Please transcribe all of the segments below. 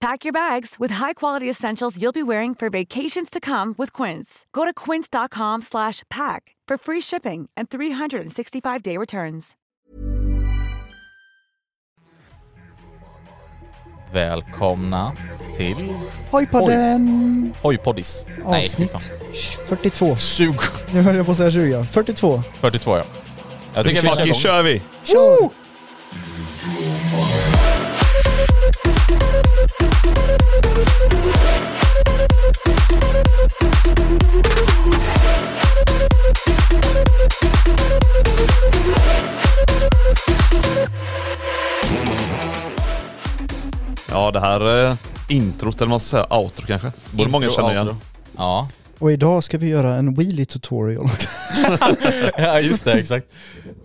Pack your bags with high-quality essentials you'll be wearing for vacations to come with Quince. Go to quince.com/pack for free shipping and 365-day returns. Välkomna till Hoj på Oj. den! Hojpoddis. Nej, fy Avsnitt fan. 42. 20. Nu höll jag på att säga 20. 42. 42 ja. Jag tycker vi kör Fucking igång. kör vi! Tjo! Ja, det här eh, introt eller vad man ska säga, outro kanske. Borde Intro, många känna igen. outro. Ja. Och idag ska vi göra en wheelie tutorial. ja, just det. Exakt.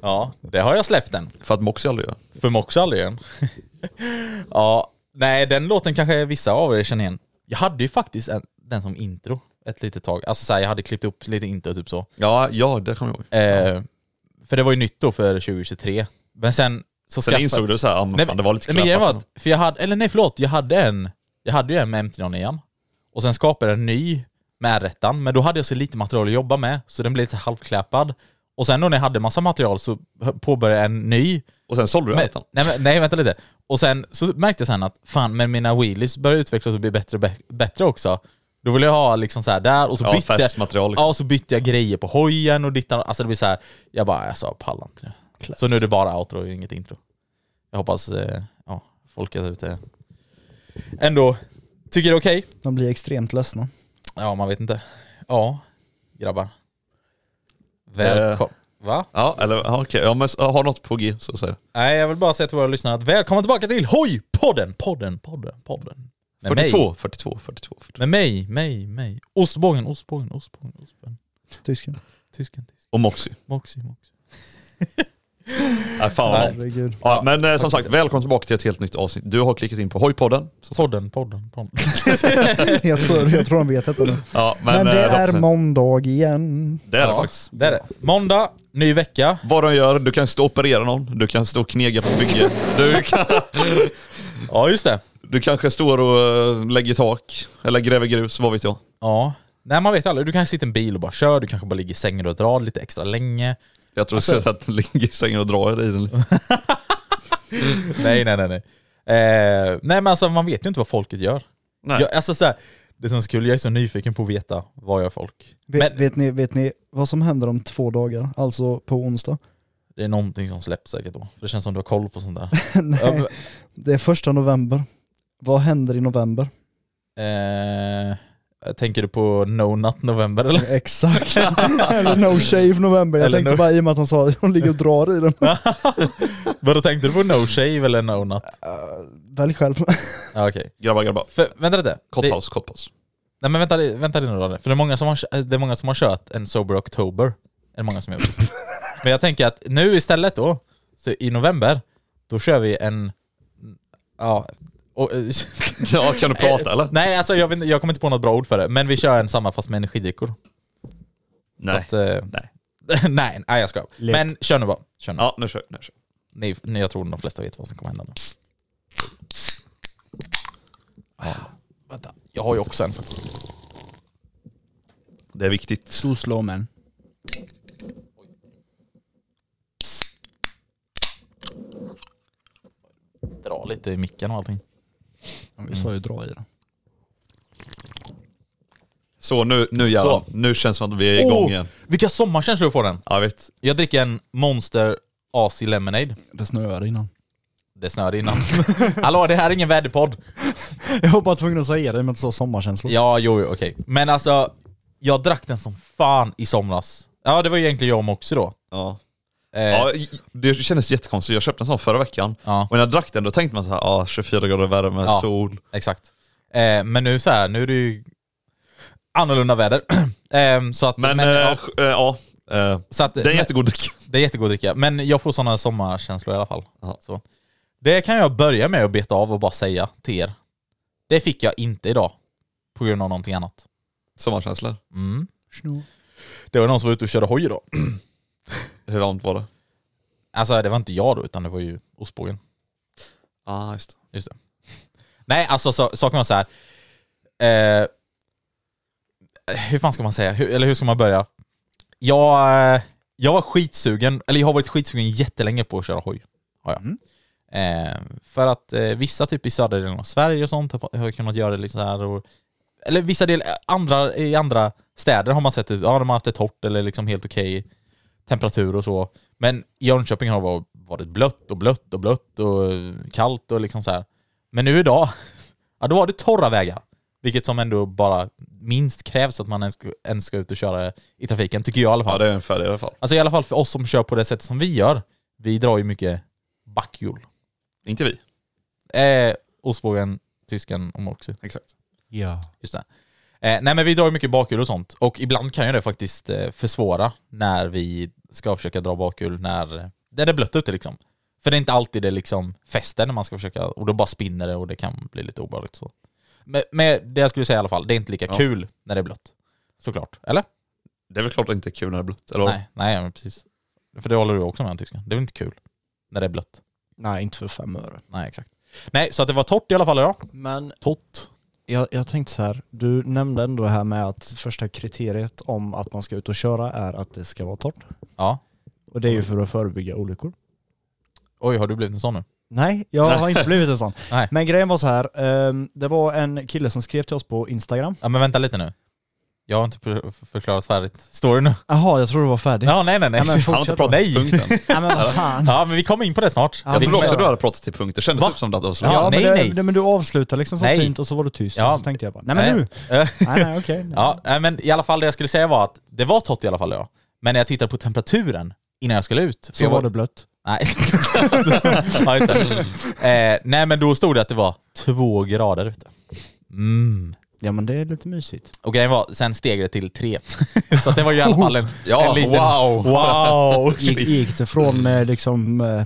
Ja, det har jag släppt den. För att Moxie aldrig gör. För Mox aldrig igen. ja, nej den låten kanske vissa av er känner igen. Jag hade ju faktiskt en, den som intro ett litet tag. Alltså så här, jag hade klippt upp lite intro typ så. Ja, ja det kommer jag ihåg. Eh, för det var ju nytt då för 2023. Men sen så Sen insåg du såhär, ah, men fan, det var lite nej, men grejen var kläpat. att, för jag hade, eller nej förlåt, jag hade en, jag hade ju en med MT-09 och sen skapade jag en ny med rättan men då hade jag så lite material att jobba med så den blev lite halvkläpad. Och sen då när jag hade massa material så påbörjade jag en ny Och sen sålde du men, den. nej, men, nej, vänta lite. Och sen så märkte jag sen att fan, men mina wheelies börjar utvecklas och bli bättre och bä- bättre också. Då ville jag ha liksom så här där och så Ja, bytte jag, färskt material liksom. ja, och så bytte jag grejer på hojen och dittan. Alltså det blir så här, jag bara alltså jag pallar inte nu. Så nu är det bara outro och inget intro. Jag hoppas eh, ja, folk där ute ändå tycker det är okej. De blir extremt ledsna. Ja, man vet inte. Ja, Eh. grabbar. Välkom... Va? Ja, eller ja, okej. Ja, men s- ja, har något på G så säg det. Nej, jag vill bara säga till våra lyssnare att välkomna tillbaka till Hoj-podden! Podden, podden, podden. Med 42, Mig, 42, 42, 42. med mig, mig, mig. Ostbågen, ostbågen, ostbågen, ostbågen. Tysken. Tysken, tysken. Och Moxie. Moxie, moxie. Nej, fan vad nice. Herregud. Ja, men eh, som sagt, välkommen tillbaka till ett helt nytt avsnitt. Du har klickat in på Hojpodden. Så- Podden, podden, podden. Jag tror, jag tror de vet detta nu. Ja, men, Men det eh, är absolut. måndag igen. Det är det faktiskt. Det är det. Måndag, ny vecka. Vad de gör, du kan stå och operera någon, du kan stå och knega på bygge, du, kan, Ja, just det. du kanske står och eh, lägger tak, eller gräver grus, vad vet jag. Ja. Nej, man vet aldrig. Du kanske sitter i en bil och bara kör, du kanske bara ligger i sängen och drar lite extra länge. Jag tror alltså, att den ligger i sängen och drar i den lite. Nej, nej, nej. nej. Eh, nej men alltså man vet ju inte vad folket gör. Nej. Jag, alltså, så här, det som är så kul, jag är så nyfiken på att veta vad gör folk. Vet, Men- vet, ni, vet ni vad som händer om två dagar? Alltså på onsdag? Det är någonting som släpps säkert då. För det känns som du har koll på sånt där. Ja, Nej, det är första november. Vad händer i november? men, eh, tänker du på No Nut November eller? Exakt. Eller no shave november. Jag Eller tänkte no- bara i och med att han sa att hon ligger och drar i den. Vadå tänkte du på No Shave eller No Nut? Äh, Välj själv. Ja, okej. Grabbar, grabbar. För- Vänta lite. Kort Det- paus, kort paus. Nej men vänta, vänta lite nu då. För det är, många som har, det är många som har kört en Sober October. Är det många som har gjort. men jag tänker att nu istället då, så i november, då kör vi en... Ja... Och, Ja, kan du prata eller? nej alltså jag, vet inte- jag kommer inte på något bra ord för det, men vi kör en samma fast med energidrickor. Så Nej. Att, eh, Nej. nej, nej jag ska. Lätt. Men kör nu bara. Kör nu. Ja, nu kör, nu kör. Ni, ni, jag tror de flesta vet vad som kommer hända nu. Ja, vänta, jag har ju också en. Det är viktigt. Too slow man. Dra lite i micken och allting. Ja, Vi sa ju dra i den. Så nu, nu jävlar. Så. Oh! Nu känns det som att vi är igång igen. vilka sommarkänslor du får den. Ja, jag vet. Jag dricker en Monster AC Lemonade. Det snöade innan. Det snöade innan. Hallå, det här är ingen väderpodd. Jag var bara tvungen att säga det men inte så sommarkänslor. Ja, jo, jo okej. Men alltså, jag drack den som fan i somras. Ja, det var ju egentligen jag med också då. Ja. Eh, Ja, det kändes jättekonstigt. Jag köpte en sån förra veckan. Ja. Och när jag drack den då tänkte man så här, ah, 24 grader värme, Ja. sol. Exakt. Eh, men nu så här, nu är det ju annorlunda väder. eh, så att, Men, eh, ja, sj- eh, ja. eh, så att, det är en men- jättegod dryck. Det är jättegod dricka, men jag får sådana sommarkänslor i alla fall. Ja. Så. Det kan jag börja med att beta av och bara säga till er. Det fick jag inte idag. På grund av någonting annat. Sommarkänslor. Mm. Det var någon som var ute och körde hoj idag. Hur varmt var det? Alltså det var inte jag då, utan det var ju ostbågen. Ja, ah, just det. Just det. Nej, alltså så, saken var så här. Eh, hur fan ska man säga? Hur, eller hur ska man börja? Jag, eh, jag var skitsugen, eller jag har varit skitsugen jättelänge på att köra hoj. Har jag. Eh, för att eh, vissa typ i södra delen av Sverige och sånt har, har kunnat göra det lite så här. Och, eller vissa del, eh, andra, i andra städer har man sett ut, ja de har haft ett torrt eller liksom helt okej temperatur och så. Men i Jönköping har det var- varit blött och blött och blött och kallt och liksom så här. Men nu idag, ja då var det torra vägar. Vilket som ändå bara minst krävs att man ens ska, ens ska ut och köra i trafiken, tycker jag i alla fall. Ja, det är en fördel i alla fall. Alltså i alla fall för oss som kör på det sättet som vi gör. Vi drar ju mycket backhjul. Inte vi. Eh, Ostbågen, tysken och Moxie. Exakt. Ja. Just det. Eh, nej men vi drar ju mycket bakhjul och sånt. Och ibland kan ju det faktiskt eh, försvåra när vi ska försöka dra bakhjul när eh, där det är blött ute liksom. För det är inte alltid det liksom fäster när man ska försöka, och då bara spinner det och det kan bli lite obehagligt så. Men, men det jag skulle säga i alla fall, det är inte lika Ja. kul när det är blött. Såklart. Eller? Det är väl klart att det inte är kul när det är blött. Eller? Nej, nej men precis. För det håller du också med om tysken. Det är väl inte kul när det är blött. Nej inte för fem öre. Nej exakt. Nej, så att det var torrt i alla fall idag. Men Torrt. jag, jag tänkte så här, du nämnde ändå det här med att första kriteriet om att man ska ut och köra är att det ska vara torrt. Ja. Och det är ju för att förebygga olyckor. Oj, har du blivit en sån nu? Nej, jag har inte blivit en sån. Nej. Men grejen var så här, ehm, det var en kille som skrev till oss på Instagram. Ja men vänta lite nu. Jag har inte för- förklarat färdigt. Står det nu? Jaha, jag tror det var färdigt. Ja, nej nej nej. Nej, men Han har inte fortsätt. pratat till Nej. punkten. Nej men vad fan. Ja men vi kommer in på det snart. Ja, Vi Jag trodde kommer- också du hade pratat till punkten. Det kändes Va? typ som det att det var slut. Ja, Ja, men nej, det, nej. det- men du avslutar liksom så Nej. fint och så var du tyst. Ja. Ja. Så tänkte jag bara, nej men nu! Eh, Nej nej okej. nej. Ja, nej, men i alla fall det jag skulle säga var att det var torrt i alla fall ja. Men när jag tittade på temperaturen innan jag skulle ut. för Så jag var det blött. Nej. ja, just det. Eh, nej men då stod det att det var två grader ute. Mm. Ja men det är lite mysigt. Och grejen var, sen steg det till tre. Så att det var ju i alla fall en, Ja, en liten... wow. Wow! Gick, gick det från eh, liksom, eh, vad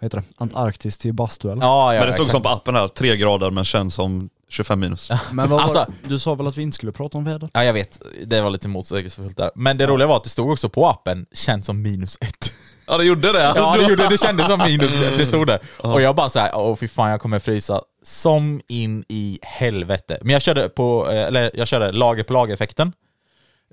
heter det, Antarktis till bastu eller? Ja, ja, Men det stod exakt. som på appen här, tre grader men känns som 25 minus. Men vad Alltså- var, du sa väl att vi inte skulle prata om väder? Ja jag vet, det var lite motsägelsefullt där. Men det roliga var att det stod också på appen, känns som minus ett. Ja det gjorde det. Ja det gjorde det, det kändes som minus ett, det stod där. Och jag bara såhär, åh fy fan jag kommer frysa som in i helvete. Men jag körde på, eh, eller jag körde lager på lager effekten.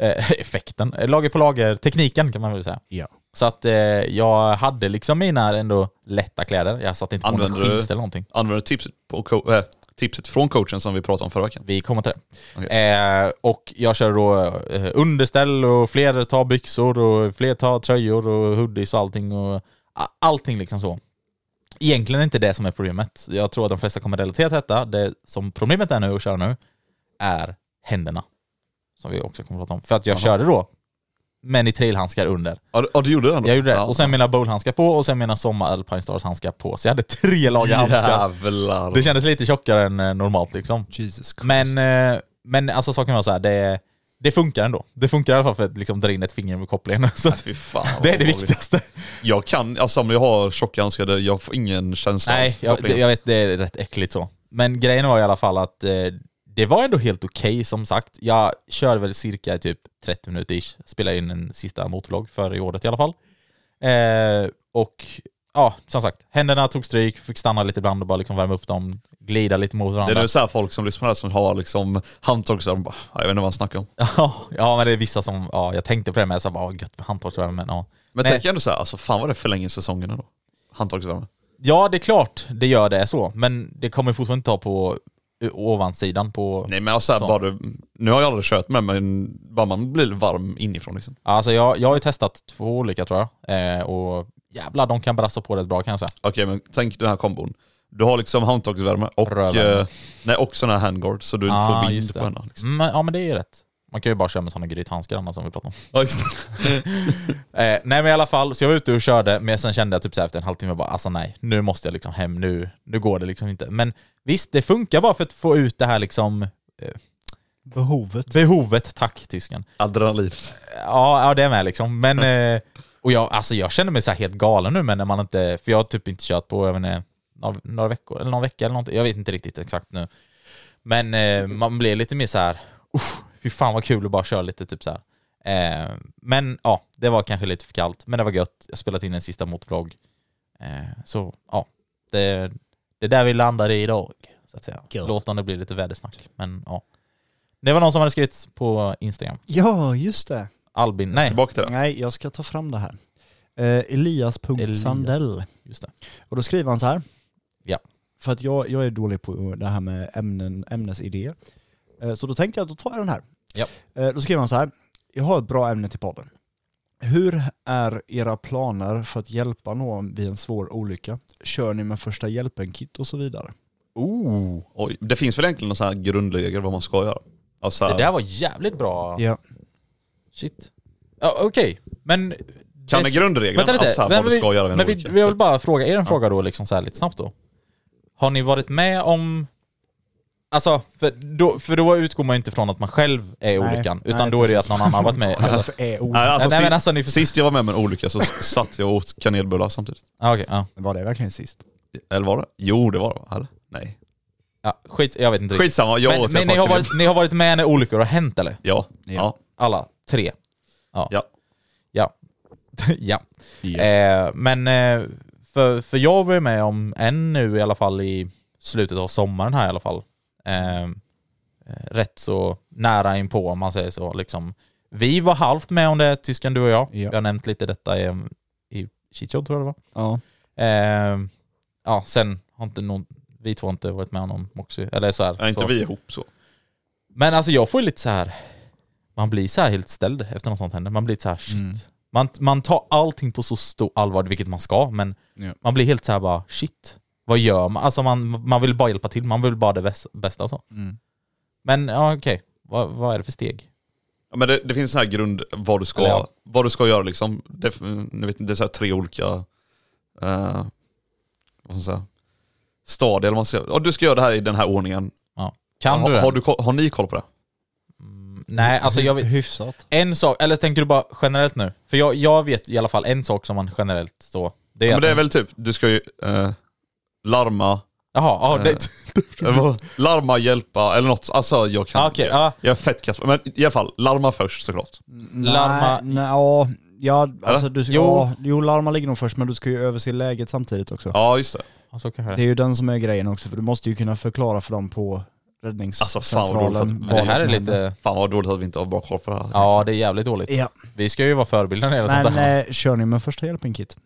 Eh, effekten? Eh, Lager på lager tekniken kan man väl säga. Ja. Så att eh, jag hade liksom mina ändå lätta kläder. Jag satte inte på något Använder du- jeans eller någonting. Använder tipset, på co- eh, tipset från coachen som vi pratade om förra veckan. Vi kommer till det. Okej. Eh, och jag kör då eh, underställ och fler tar byxor och fler tar tröjor och hoodies och allting. Och, a- allting liksom så. Egentligen är inte det som är problemet. Jag tror att de flesta kommer relatera till detta. Det som problemet är nu och kör nu är händerna. Som vi också kommer prata om. För att jag Jaha. körde då, men i trailhandskar under. Ja du, ja, du gjorde det ändå? Jag gjorde det. Ja. Och sen mina bowlhandskar på och sen mina Sommar Alpine Stars handskar på. Så jag hade tre lager handskar. Jävlar. Det kändes lite tjockare än eh, normalt liksom. Jesus Christ. Men, eh, men alltså saken var så här, det, det funkar ändå. Det funkar i alla fall för att liksom dra in ett finger med kopplingen. Så att, Fy fan, vad det är det dåligt. viktigaste. Jag kan, alltså om jag har tjocka handskar, jag får ingen känsla Nej, alls. jag, det- jag vet det är rätt äckligt så. Men grejen var i alla fall att eh, Det var ändå helt okej som sagt. Jag kör väl cirka typ 30 minuter ish. Spelar in en sista motorvlogg för i året i alla fall. Eh, och ja, som sagt. Händerna tog stryk, fick stanna lite ibland och bara liksom värma upp dem. Glida lite mot Det är varandra. nu så här folk som lyssnar här som har liksom handtork så här, de bara, "Ja, jag vet inte vad han snackar om. Ja, ja, men det är vissa som, ja, jag tänkte på det med, så här bara, "Åh, gött med handtagsvärme, men ja. Men Nej. tänk ändå så här, alltså fan vad det förlänger säsongen ändå. Handtorksvärme. Ja, det är klart det gör det så, men det kommer fortfarande inte ta på ö- ovansidan på... Nej men alltså här, Så. bara du, nu har jag aldrig kört med men bara man blir varm inifrån liksom. Alltså jag, jag har ju testat två olika tror jag, eh, och jävlar de kan brassa på rätt bra kan jag säga. Okej men tänk den här kombon. Du har liksom handtorksvärme och, Rövvärme. eh, nej, och sån här handguard så du inte Ah, får just vind det. på henne. Liksom. Men, ja men det är ju rätt. Man kan ju bara köra med sådana grythandskar annars som vi pratade om. Ja, just det. Eh, nej men i alla fall, så jag var ute och körde, men sen kände jag typ så här efter en halvtimme bara alltså nej, nu måste jag liksom hem, nu, nu går det liksom inte. Men visst, det funkar bara för att få ut det här liksom Behovet. behovet, tack tysken. Adrenalin. Ja, ja det är med liksom. Men, eh, och jag, alltså, jag känner mig så här helt galen nu, men när man inte, för jag har typ inte kört på jag vet inte, några, några veckor, eller någon vecka eller någonting. Jag vet inte riktigt exakt nu. Men eh, man blir lite mer så här, uff, fy fan vad kul att bara köra lite typ så här. Eh, men ja, det var kanske lite för kallt, men det var gött. Jag har spelat in en sista motvlogg. Eh, så ja, det, det är där vi landar i idag. Så att säga. Låt om det blir lite vädersnack. Men ja. Det var någon som hade skrivit på Instagram. Ja, just det. Albin, nej. Tillbaka till det. Nej, jag ska ta fram det här. Eh, Elias.sandell. Just det. Och då skriver han så här. Ja. För att jag, jag är dålig på det här med ämnen, ämnesidéer. Eh, Så då tänkte jag att då tar jag den här. Ja. Eh, Då skriver han så här. Jag har ett bra ämne till podden. Hur är era planer för att hjälpa någon vid en svår olycka? Kör ni med första hjälpen-kit och så vidare? Oh. Oj. Det finns väl egentligen någon sån här grundregel vad man ska göra? Alltså, Det där var jävligt bra. Ja. Shit. Ja, Okej, men... Kan med det- grundregeln, Vänta lite. alltså här, men vad du vi- ska göra vid en Men typ. vi, olycka. vi vill bara fråga er en fråga då, liksom så här lite snabbt då. Har ni varit med om... Alltså, för då, för då utgår man ju inte från att man själv är i Nej. olyckan, Nej, utan då är det ju att precis. någon annan har varit med. Alltså, Varför är Nej, olyckan? alltså, Nej, si- men alltså, ni förstår- Sist jag var med om en olycka så satt jag och åt kanelbullar samtidigt. ah, okej, ja. Var det verkligen sist? Eller var det? Jo det var det eller? Nej. ja, skit, jag vet inte riktigt. Skitsamma, jag men åt men jag ni, får har kanel- varit, ni har varit med när olyckor har hänt eller? Ja. ja. Alla tre? Ja. Ja. ja. Eh, men eh, för, för jag var ju med om en nu i alla fall i slutet av sommaren här i alla fall. Eh, eh, rätt så nära inpå om man säger så. Liksom. Vi var halvt med om det, tysken du och jag. Ja. Jag har nämnt lite detta i, i Chichod tror jag det var. Ja. Eh, ja, sen har inte någon, vi två har inte varit med om någon Moxie. Eller så här. Ja, inte så. vi ihop så. Men alltså jag får ju lite så här. man blir så här helt ställd efter något sånt händer. Man blir så här shit. Man, man tar allting på så stor allvar, vilket man ska, men Ja. man blir helt så här bara shit. Vad gör man? Alltså man, man vill bara hjälpa till, man vill bara det bäst- bästa och så. Mm. Men ja okej, vad, vad är det för steg? Ja, men det, det finns en här grund, vad du ska, Eller ja. vad du ska göra liksom. Det, ni vet, det är så här tre olika, eh, vad ska man säga, stadier. Eller vad man ska, ja, du ska göra det här i den här ordningen. Kan har, du, har, den? du koll- har ni koll på det? Nej, alltså jag vet, Hyfsat. en sak, eller tänker du bara generellt nu? För jag, jag vet i alla fall en sak som man generellt så, det är Ja, men det är att- väl typ, du ska ju eh, larma, Jaha, ja, Eh, det, larma, hjälpa eller något. Alltså jag kan Ah, okej, ja. Jag är fett kass på- Men i alla fall, larma först såklart. Larma- Nej, nej, ja, ja, alltså du, Jo. ja, jo, larma ligger nog först men du ska ju överse läget samtidigt också. Ja just det. alltså, kanske Det det. är ju den som är grejen också, för du måste ju kunna förklara för dem på Alltså, fan vad räddningscentralen. roligt att- vad Men det här som är händer. lite, Fan vad dåligt att vi inte har bra koll på det här. ja det är jävligt dåligt. Ja, Vi ska ju vara förebilder när det gäller sånt här. men eh, kör ni med första Mm, hjälpen-kit?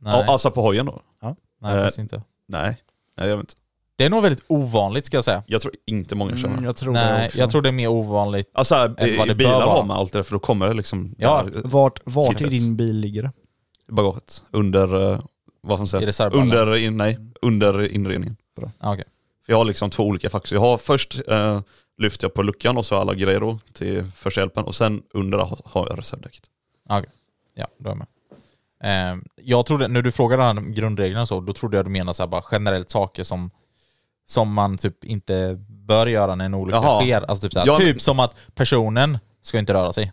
Nej, Ja, Alltså på hojen då? nej eh, faktiskt inte. Nej. Nej jag vet inte. Det är nog väldigt ovanligt ska jag säga. Jag tror inte många kör Mm, det. jag tror det Nej, också. jag tror det är mer ovanligt. Alltså här, Än vad det i, i bör bilar vara. har man alltid det för då kommer det liksom Ja. där, eh, Vart, vart i Kittet. din bil ligger det? i bagaget. Under, eh, vad ska I man säga? reservballen. Under, eh, in, nej, under inredningen. Ah, okej. För jag har liksom två olika fack. Så jag har först eh, lyfter jag på luckan och så har jag alla grejer då till första hjälpen och sen under där har- har jag reservdäcket. Ja, då är jag med. Eh, jag trodde, när du frågade den här grundreglerna och så, då trodde jag du menade så här bara generellt saker som, som man typ inte bör göra när en olycka Jaha. sker. Alltså typ, så här, Ja, men- typ som att personen ska inte röra sig.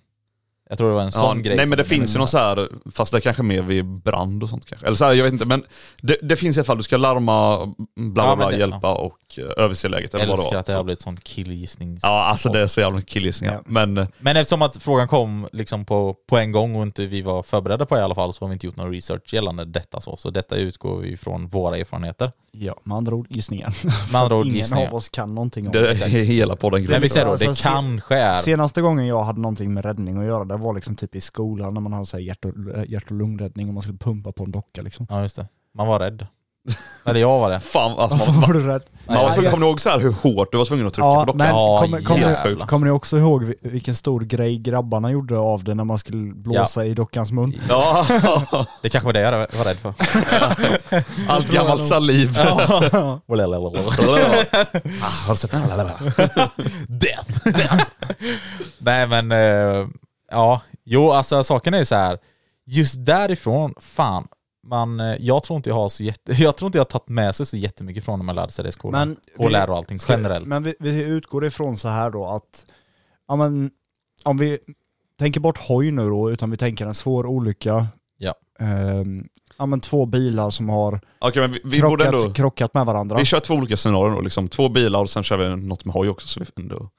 Jag tror det var en sån grej. nej som men det jag finns menade. ju någon så här, fast det är kanske mer vid brand och sånt kanske. Eller så här, jag vet inte men det, det finns i alla fall, du ska larma, bla bla Ja, men bla, det- hjälpa och och eh, överse läget. Jag Eller vad det älskar var. att det här Så- har blivit sån killgissnings... Ja, alltså det är så jävla mycket killgissningar. Ja. Men eh, Men eftersom att frågan kom liksom på, på en gång och inte vi var förberedda på det i alla fall så har vi inte gjort någon research gällande detta så. Så detta utgår vi från våra erfarenheter. Ja, med andra ord gissningar. Med andra ord Ingen gissningar. av oss kan någonting om det det. är hela podden Men vi grundar. säger då, det Alltså, se- kanske är... Senaste gången jag hade någonting med räddning att göra, det var liksom typ i skolan när man hade så här hjärt, och, eh, hjärt och lungräddning och man skulle pumpa på en docka liksom. Ja just det. Man var rädd. Eller jag var det. Fan, alltså man, Varför man, var du rädd? man var Nej, tvungen, jag- kommer ni ihåg så här hur hårt du var tvungen att trycka Ja, på dockan? men Ja, kommer, kommer, helt jävlar. sjukt. kommer ni också ihåg vi- vilken stor grej grabbarna gjorde av det när man skulle blåsa i dockans mun? Ja, Det kanske var det jag var rädd för. allt gammalt saliv. Death! Nej men, eh, ja. Jo alltså saken är ju så här. just därifrån, fan. Man, eh, jag, tror inte jag, har så jätte, jag tror inte jag har tagit med sig så jättemycket från när man lärde sig det i skolan. Men och vi- lärde och allting generellt. Men vi, vi utgår ifrån så här då att, ja men, om vi tänker bort hoj nu då, utan vi tänker en svår olycka. Ja. Ehm, ja men två bilar som har Okej men vi, vi borde krockat, ändå... krockat med varandra. Vi kör två olika scenarion då, liksom. Två bilar och sen kör vi något med hoj också. Så vi ändå...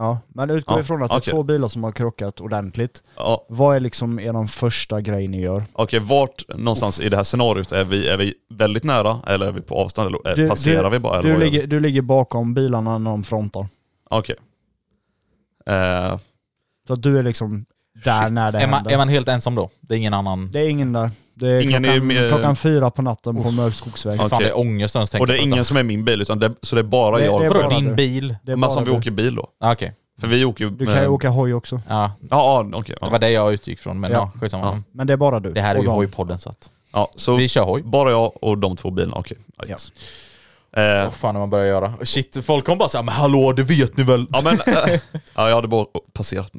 Ja, men utgår Ja, ifrån att det är okej. två bilar som har krockat ordentligt. ja, Vad är liksom er de första grej ni gör? Okej, vart någonstans i det här scenariot är vi? Är vi väldigt nära eller är vi på avstånd? Eller är- Du- Eh, passerar du- vi bara? Eller Du vad gör vi? ligger, du ligger bakom bilarna när de frontar. Okej. Eh, Så att du är liksom där när det Är man, händer. är man helt ensam då? Det är ingen annan... Det är ingen där. Det är Ingen är klockan, ju eh, med- klockan fyra på natten på Mörkskogsvägen. Fy fan Okej. det är ångest när jag ens tänker och det är på ingen detta. som är min bil, utan det, så det är bara Det- jag. det är Vadå bara din du. bil? Det är Men som bara vi du. åker bil då. Ah, Okej. För vi åker ju... Du kan ju åka hoj också. Ja, Ja, ja, okej. det ja. var det jag utgick från. Men Ja. ja, skitsamma. Ja. Men det är bara du. Det här är och ju dem. hojpodden så att... Ja, så Vi kör hoj. bara jag och de två bilarna, okej. Ja, yes. Eh, Vad fan när man börjar göra? Shit, folk kommer bara säga men hallå det vet ni väl? ja men... Eh, ja, jag hade bara passerat.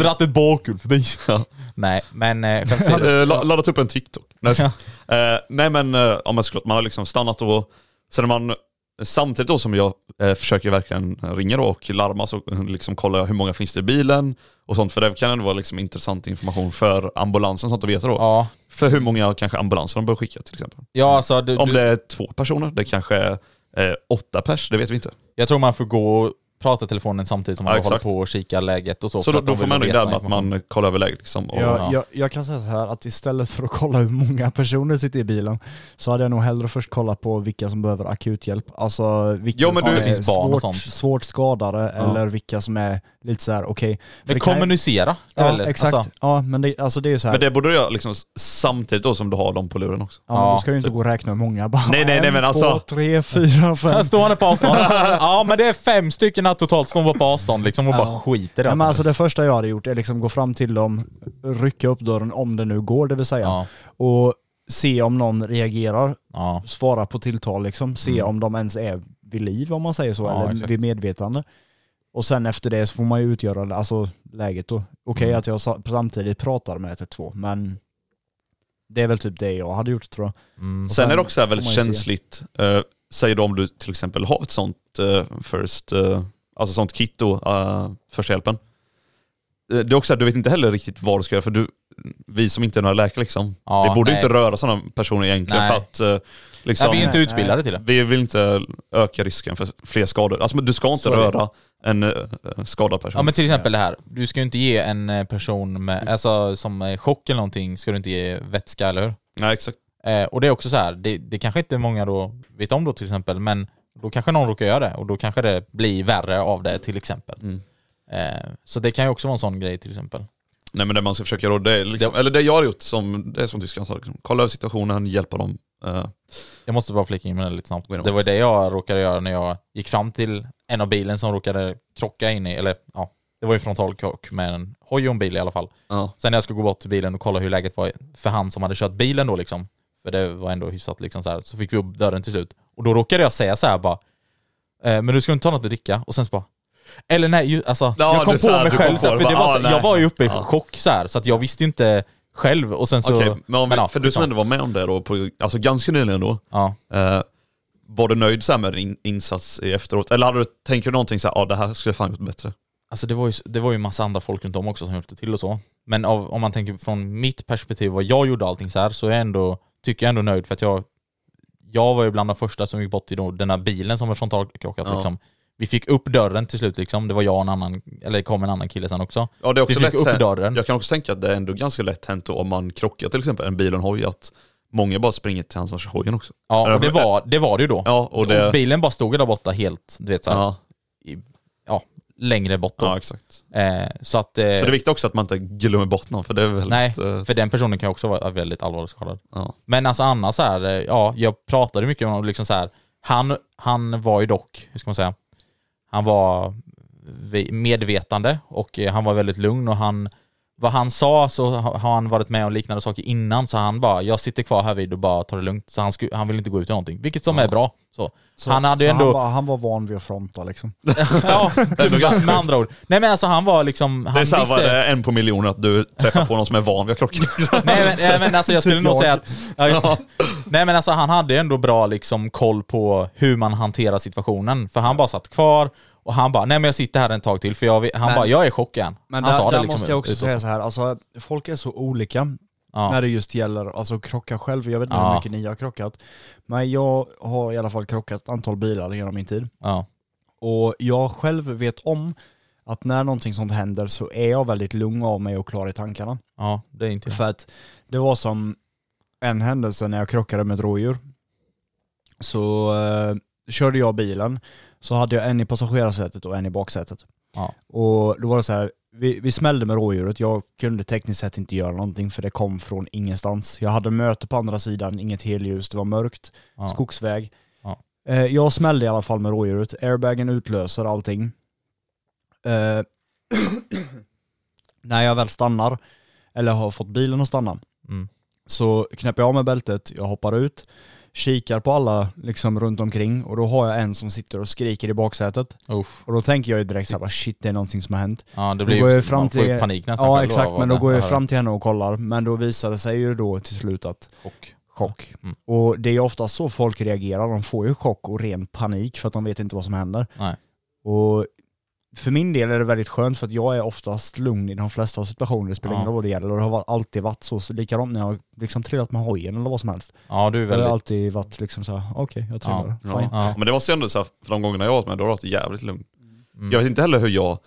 Dratt ett bakhjul förbi. Ja. Nej, men eh, skämt åsido. Eh, la- laddat upp en TikTok. Nej, Ja. eh, nej men, eh, ja, men såklart, man har liksom stannat och sen när man Samtidigt då som jag eh, försöker verkligen ringa då och larma så eh, liksom kollar jag hur många finns det i bilen och sånt. För det kan ändå vara liksom intressant information för ambulansen sånt att veta då. Ja, För hur många kanske ambulanser de bör skicka till exempel. ja alltså, du, Om du, det är två personer, det kanske är eh, åtta pers, det vet vi inte. jag tror man får gå och prata i telefonen samtidigt som man Ja, håller exakt. på och kika läget och så. Så för då, att de då får vill man ändå veta glömma att man kollar över läget liksom. Och, Ja. Jag, jag, jag kan säga så här att istället för att kolla hur många personer sitter i bilen så hade jag nog hellre först kollat på vilka som behöver akut hjälp. Alltså vilka Ja, men som du- Det finns barn och svårt, sånt. svårt skadade Ja. eller vilka som är lite så här okej. För Men det kan ju- kommunicera. Ja, eller? exakt. Alltså, Ja, men det, alltså det är ju så här. Men det borde du göra liksom s- samtidigt då som du har dem på luren också. ja, men Ja, då ska du inte typ. gå och räkna hur många. Bara, Nej, nej, nej, men en, alltså- två, tre, fyra, här fem. står han på avstånd. ja men det är fem stycken här totalt som var på avstånd liksom och bara Ja. skiter i Nej, allt. men alltså det första jag hade gjort är liksom gå fram till dem, rycka upp dörren om det nu går det vill säga. Ja, Och se om någon reagerar, ja. svara på tilltal liksom, se Mm. om de ens är vid liv om man säger så, Ja, eller exakt. vid medvetande. Och sen efter det så får man ju utgöra alltså, läget då. Okej Mm. att jag sa- samtidigt pratar med 112 men det är väl typ det jag hade gjort tror jag. Mm. Sen är det också här får väldigt man ju se. känsligt, eh, säg då om du till exempel har ett sånt eh, first, eh, alltså sånt kit då, eh, första hjälpen. Eh, det är också att du vet inte heller riktigt vad du ska göra för du, vi som inte är några läkare liksom, Ja, vi borde nej. inte röra sådana personer egentligen Nej. för att eh, liksom, Nej, vi är inte Nej, utbildade till det. vi vill inte öka risken för fler skador. Alltså men du ska inte Så är det. röra en eh, skadad person. Ja men till exempel det här, du ska ju inte ge en eh, person med, alltså, som är i chock eller någonting, ska du inte ge vätska, eller hur? Nej exakt. Eh, och det är också så här, det, det kanske inte många då vet om då till exempel, men då kanske någon råkar göra det och då kanske det blir värre av det till exempel. Mm. Eh, så det kan ju också vara en sån grej till exempel. Nej men det man ska försöka göra, det är liksom, eller det jag har gjort som, det är som tyskarna sa, liksom, kolla över situationen, hjälpa dem. eh, Jag måste bara flika in med det lite snabbt. Gå igenom Det var också. det jag råkade göra när jag gick fram till en av bilen som råkade krocka in i, eller ja, det var ju frontalkrock med en hoj och en bil i alla fall. ja. Sen när jag skulle gå bort till bilen och kolla hur läget var för han som hade kört bilen då liksom, för det var ändå hyfsat liksom så här, så fick vi upp dörren till slut. Och då råkade jag säga så här bara, eh, men du ska inte ta något att dricka? Och sen så bara, eller nej, ju, alltså Ja, jag kom du på så här, mig du själv, kom så här, på för det, det bara, var, ah, så, nej. jag var ju uppe i Ja. chock så här, så att jag visste ju inte själv och sen så... Okej, men, om vi, ja, för du liksom. som ändå var med om det då, på, alltså ganska nyligen då, Ja. eh, var du nöjd så här med din insats i efteråt? Eller hade du, tänker du någonting så här, ah, det här skulle jag fan gjort bättre? Alltså det var, ju, det var ju massa andra folk runt om också som hjälpte till och så. Men av, om man tänker från mitt perspektiv, vad jag gjorde och allting så här, så är jag ändå, tycker jag ändå nöjd för att jag jag var ju bland de första som gick bort till då, den där bilen som var frontalkrockat. Ja. Liksom. Vi fick upp dörren till slut liksom. Det var jag och en annan, eller det kom en annan kille sen också. Ja, det är också vi fick lätt upp hänt- dörren. Jag kan också tänka att det är ändå ganska lätt hänt då om man krockar till exempel en bil och en hoj att många bara springer till hans som kör hojen också. Ja, och det var det, var det ju då. Ja, och det... Och bilen bara stod där borta helt, du vet såhär, ja, längre bort då. ja, exakt. eh, så att... eh, Så det är viktigt också att man inte glömmer bort någon för det är väldigt... Nej, eh, för den personen kan ju också vara väldigt allvarligt skadad. ja. Men alltså annars så här, eh, ja, jag pratade mycket om honom, liksom så här, han, han var ju dock, hur ska man säga, han var vi- medvetande och eh, han var väldigt lugn och han, vad han sa så ha- har han varit med om liknande saker innan så han bara, jag sitter kvar här vid och bara tar det lugnt. Så han, sku, han vill inte gå ut i någonting, vilket som är bra. Så. han hade ju så ändå... han, var, han var van vid att fronta liksom. ja, typ, med andra ord. Nej men alltså han var liksom, han Det är såhär, visste... vad är det en på miljoner att du träffar på någon som är van vid att krocka? Nej men, nej, men alltså jag skulle Typ nog jag. säga att... Ja, just, det. nej men alltså han hade ju ändå bra liksom koll på hur man hanterar situationen. För han bara satt kvar och han bara, nej men jag sitter här en tag till för jag vet, han Men- bara, jag är i chock igen. Men han där, sa där det liksom måste jag också utåt. säga så här, alltså folk är så olika Ja. när det just gäller alltså krocka själv. Jag vet inte Ja. hur mycket ni har krockat, men jag har i alla fall krockat ett antal bilar genom min tid. Ja. Och jag själv vet om att när någonting sånt händer så är jag väldigt lugn av mig och klar i tankarna. ja, det är inte jag. För att det var som en händelse när jag krockade med ett rådjur. Så eh, körde jag bilen, så hade jag en i passagerarsätet och en i baksätet. Ja. Och då var det så här, vi, vi smällde med rådjuret, jag kunde tekniskt sett inte göra någonting för det kom från ingenstans. Jag hade möte på andra sidan, inget helljus, det var mörkt, Ja. skogsväg. Ja. Eh, jag smällde i alla fall med rådjuret, airbagen utlöser allting. Eh, när jag väl stannar, eller har fått bilen att stanna, Mm. så knäpper jag av mig bältet, jag hoppar ut, kikar på alla liksom runt omkring och då har jag en som sitter och skriker i baksätet. Uff. Och då tänker jag ju direkt såhär, shit det är någonting som har hänt. Ja, det Då blir går ju, jag ju fram man får ju till- panik nästan. Ja själv av exakt, att men då det går jag här fram till henne och kollar, men då visar det sig ju då till slut att är chock. chock. Mm. Och det är ju ofta så folk reagerar, de får ju chock och ren panik för att de vet inte vad som händer. Nej. Och för min del är det väldigt skönt för att jag är oftast lugn i de flesta situationer, det spelar Ja. ingen roll vad det gäller och det har va- alltid varit så, så likadant när jag liksom trillat med hojen eller vad som helst. Ja, du är Det har väldigt... alltid varit liksom såhär, okej jag Ja, trillar, fine. ja. Men det var så ändå så här, för de gångerna jag har varit med, då har det varit jävligt lugnt. Mm. Jag vet inte heller hur jag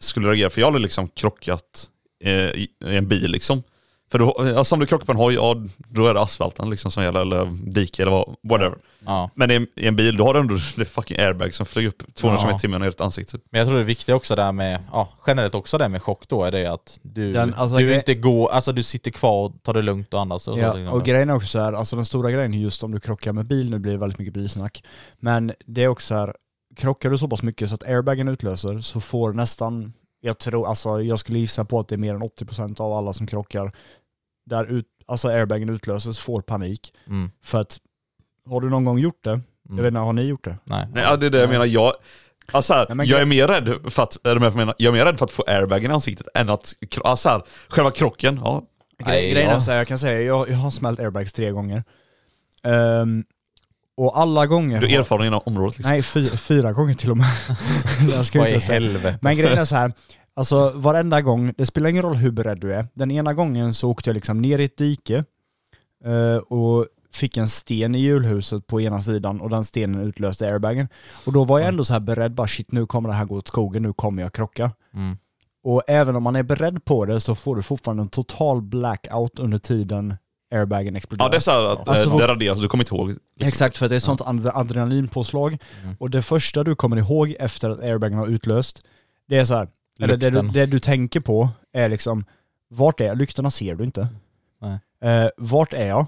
skulle reagera, för jag hade liksom krockat eh, i i en bil liksom. För då, alltså om du krockar på en hoj, ja, då är det asfalten liksom som gäller, eller dike eller vad, whatever. Ja. Men i en, i en bil, då har du ändå det är fucking airbag som flyger upp 200 Ja. km i timmen i ditt ansikte. Men jag tror det viktiga också där med, ja, generellt också där med chock då, är det att du, Den- alltså, du gre- inte går, alltså du sitter kvar och tar det lugnt och andas. Och så, liksom. Ja, och grejen är också så här, alltså den stora grejen är just om du krockar med bil, nu blir det väldigt mycket bilsnack, men det är också så här, krockar du så pass mycket så att airbagen utlöser så får nästan, jag tror, alltså jag skulle gissa på att det är mer än 80% av alla som krockar, där ut, alltså airbagen utlöses får panik. mm. För att, har du någon gång gjort det? Jag vet inte, har ni gjort det? Nej. Nej, ja, det är det jag menar. Jag, alltså här, Nej, men jag är gre- mer rädd för att, är du med på vad jag menar? jag är mer rädd för att få airbagen i ansiktet än att, kro- alltså här, själva krocken, ja. Nej, Gre- grejen ja. är så här, jag kan säga, jag, jag har smält airbags tre gånger. Ehm, och alla gånger... Du är har- erfaren inom området liksom. Nej, fyra, fyra gånger till och med. jag ska Vad i inte säga. helvete? Men grejen är så här, alltså varenda gång, det spelar ingen roll hur beredd du är. Den ena gången så åkte jag liksom ner i ett dike eh, och fick en sten i hjulhuset på ena sidan och den stenen utlöste airbagen. Och då var jag Mm. ändå så här beredd, bara shit nu kommer det här gå åt skogen, nu kommer jag krocka. Mm. Och även om man är beredd på det så får du fortfarande en total blackout under tiden airbagen exploderar. Ja det är såhär att Alltså, eh, det raderas, du kommer inte ihåg. Liksom. Exakt, för det är sånt adre- adrenalinpåslag. Mm. Och det första du kommer ihåg efter att airbagen har utlöst, det är så här, eller det, du, Lukten. det du tänker på är liksom, vart är jag? Lyktorna ser du inte. Nej. Eh, vart är jag?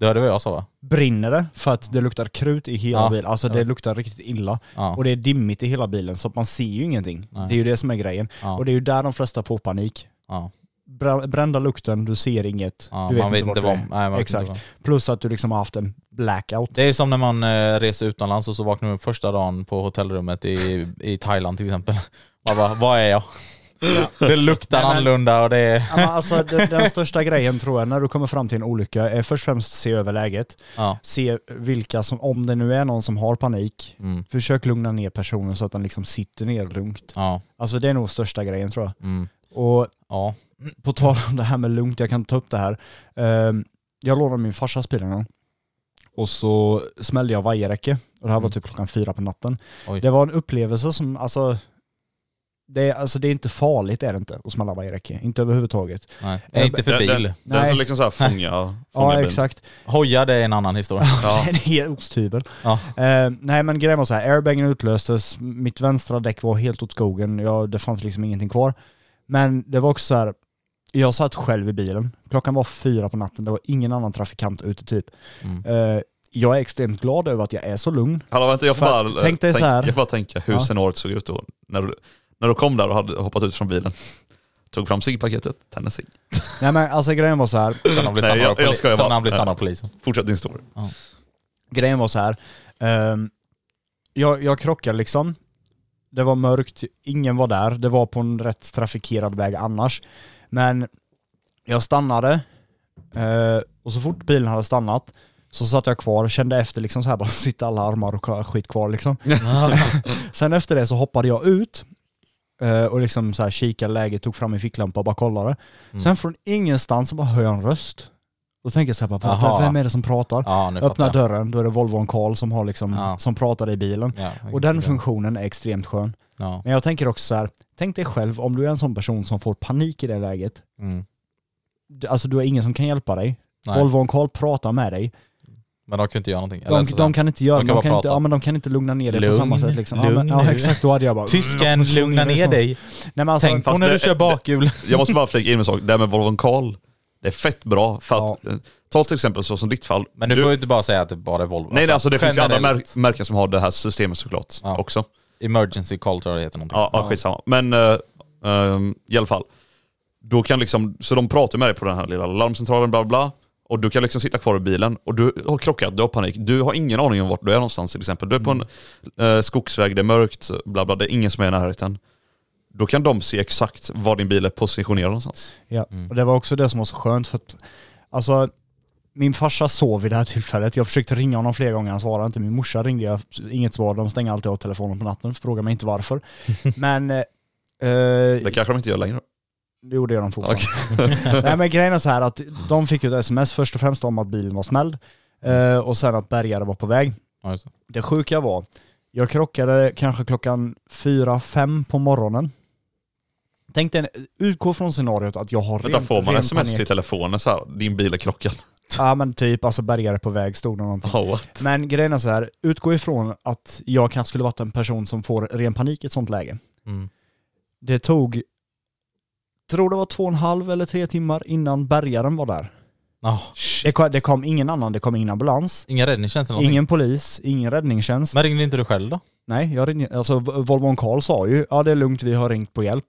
Det hörde vad jag sa va? Brinner det? För att det luktar krut i hela Ja, bilen. Alltså det ja. luktar riktigt illa. Ja. Och det är dimmigt i hela bilen så att man ser ju ingenting. Nej. Det är ju det som är grejen. Ja. Och det är ju där de flesta får panik. Ja. Brä- Brända lukten, du ser inget. Ja, du vet man vet vart inte du är. vad- nej, man vet Exakt. inte Plus att du liksom har haft en blackout. Det är som när man eh, reser utomlands och så vaknar man upp första dagen på hotellrummet i, i Thailand till exempel. Man bara, vad är jag? Det luktar Nej, men- annorlunda och det är... Ja, men alltså, den, den största grejen tror jag när du kommer fram till en olycka är först och främst se över läget. Ja. Se vilka som, om det nu är någon som har panik, Mm. försök lugna ner personen så att den liksom sitter ner lugnt. Ja. Alltså det är nog största grejen tror jag. Mm. Och Ja. på tal om det här med lugnt, jag kan ta upp det här. Ehm, jag lånade min farsas bil en gång. och så smällde jag vajerräcke. Och det här var typ klockan fyra på natten. Oj. Det var en upplevelse som, alltså det, är, alltså det är inte farligt är det inte att smälla vajerräcke. Inte överhuvudtaget. Nej. Nej, inte för Den- bil. Den, den som Nej. liksom såhär fångar, fångar Ja bilen. exakt. Hoja, det är en annan historia. Ja. det är osthyvel. Ja. Eh, nej men grejen var så här, airbagen utlöstes, mitt vänstra däck var helt åt skogen, jag, det fanns liksom ingenting kvar. Men det var också så här, jag satt själv i bilen, klockan var fyra på natten, det var ingen annan trafikant ute typ. Mm. Eh, jag är extremt glad över att jag är så lugn. Hallå vänta, jag får För att- bara, eh, tänk dig så här. jag får bara tänka hur Ja. scenariot såg ut då. När du, när du kom där och hade hoppat ut från bilen. Tog fram ciggpaketet, tände cigg. Nej men alltså grejen var så här, Sen han blir Nej, stannad jag- av jag poli- skojar sen bara. han blir Nej. stannad av polisen. Fortsätt din story. grejen var så här, ehm, jag, jag krockade liksom, det var mörkt, ingen var där, det var på en rätt trafikerad väg annars. Men jag stannade eh, och så fort bilen hade stannat så satt jag kvar, kände efter liksom så här bara sitta alla armar och skit kvar liksom. Sen efter det så hoppade jag ut eh, och liksom så här kikade läget, tog fram min ficklampa och bara kollade. Sen från ingenstans så bara hör jag en röst. Och tänker jag så här bara, "Vad- Aha. vem är det som pratar? Ja, nu Öppna fattar jag. dörren, då är det Volvon Karl som, har liksom, Ja. som pratar i bilen. Ja, Och den funktionen är extremt skön. Ja. Men jag tänker också så här, tänk dig själv om du är en sån person som får panik i det läget. Mm. Du- Alltså du har ingen som kan hjälpa dig. Nej, Volvon Karl pratar med dig. Men de kan inte göra någonting. De, Eller så- de kan inte göra, de de kan kan, bara inte, prata. ja, men de kan inte lugna ner dig på Lugn, samma sätt liksom. Ja, men, lugn ja nu. exakt, då hade jag bara... Mm. Tysken, lugna ner dig. Nej men alltså, Tänk på fast när det- du kör det- bakhjul. Jag måste bara flika in en sak, det här med Volvo Call, det är fett bra. För att, eh, Ta till exempel så som ditt fall. Men du får ju inte bara säga att det bara är Volvo. nej, nej, alltså det finns ju andra mär, generellt. märken som har det här systemet såklart Ja. också. Emergency call tror jag det heter någonting. Ja, ja skitsamma. Men eh, ehm, i alla fall. Då kan liksom, så de pratar med dig på den här lilla larmcentralen, bla bla. Och du kan liksom sitta kvar i bilen och du har krockat, du har panik. Du har ingen aning om vart du är någonstans till exempel. Du är på en Mm. eh, skogsväg, det är mörkt, bla bla, det är ingen som är i närheten. Då kan de se exakt var din bil är positionerad någonstans. Ja, Mm. och det var också det som var så skönt för att, alltså, min farsa sov vid det här tillfället. Jag försökte ringa honom flera gånger, han svarade inte. Min morsa ringde jag, inget svar. De stänger alltid av telefonen på natten, fråga mig inte varför. Men, eh, eh, Det kanske de inte gör längre. det gjorde jag dem fortfarande. Nej men grejen är så här att de fick ju ett sms först och främst om att bilen var smälld eh, och sen att bärgare var på väg. Ja, just det. Det sjuka var, jag krockade kanske klockan 4-5 på morgonen. Tänk dig, en- utgå från scenariot att jag har Vänta, får man ren sms panik. till telefonen så här, din bil är krockad? Ja men typ, alltså bärgare på väg stod det någonting. Oh, what? Men grejen är så här, utgå ifrån att jag kanske skulle varit en person som får ren panik i ett sånt läge. Mm. Det tog, tror det var två och en halv eller tre timmar innan bärgaren var där. Ja, Det kom, det kom ingen annan, det kom ingen ambulans, Ingen räddningstjänst eller någonting. ingen polis, ingen räddningstjänst. Men ringde inte du själv då? Nej, jag ringde, alltså V- Volvo Karl sa ju ja det är lugnt, vi har ringt på hjälp.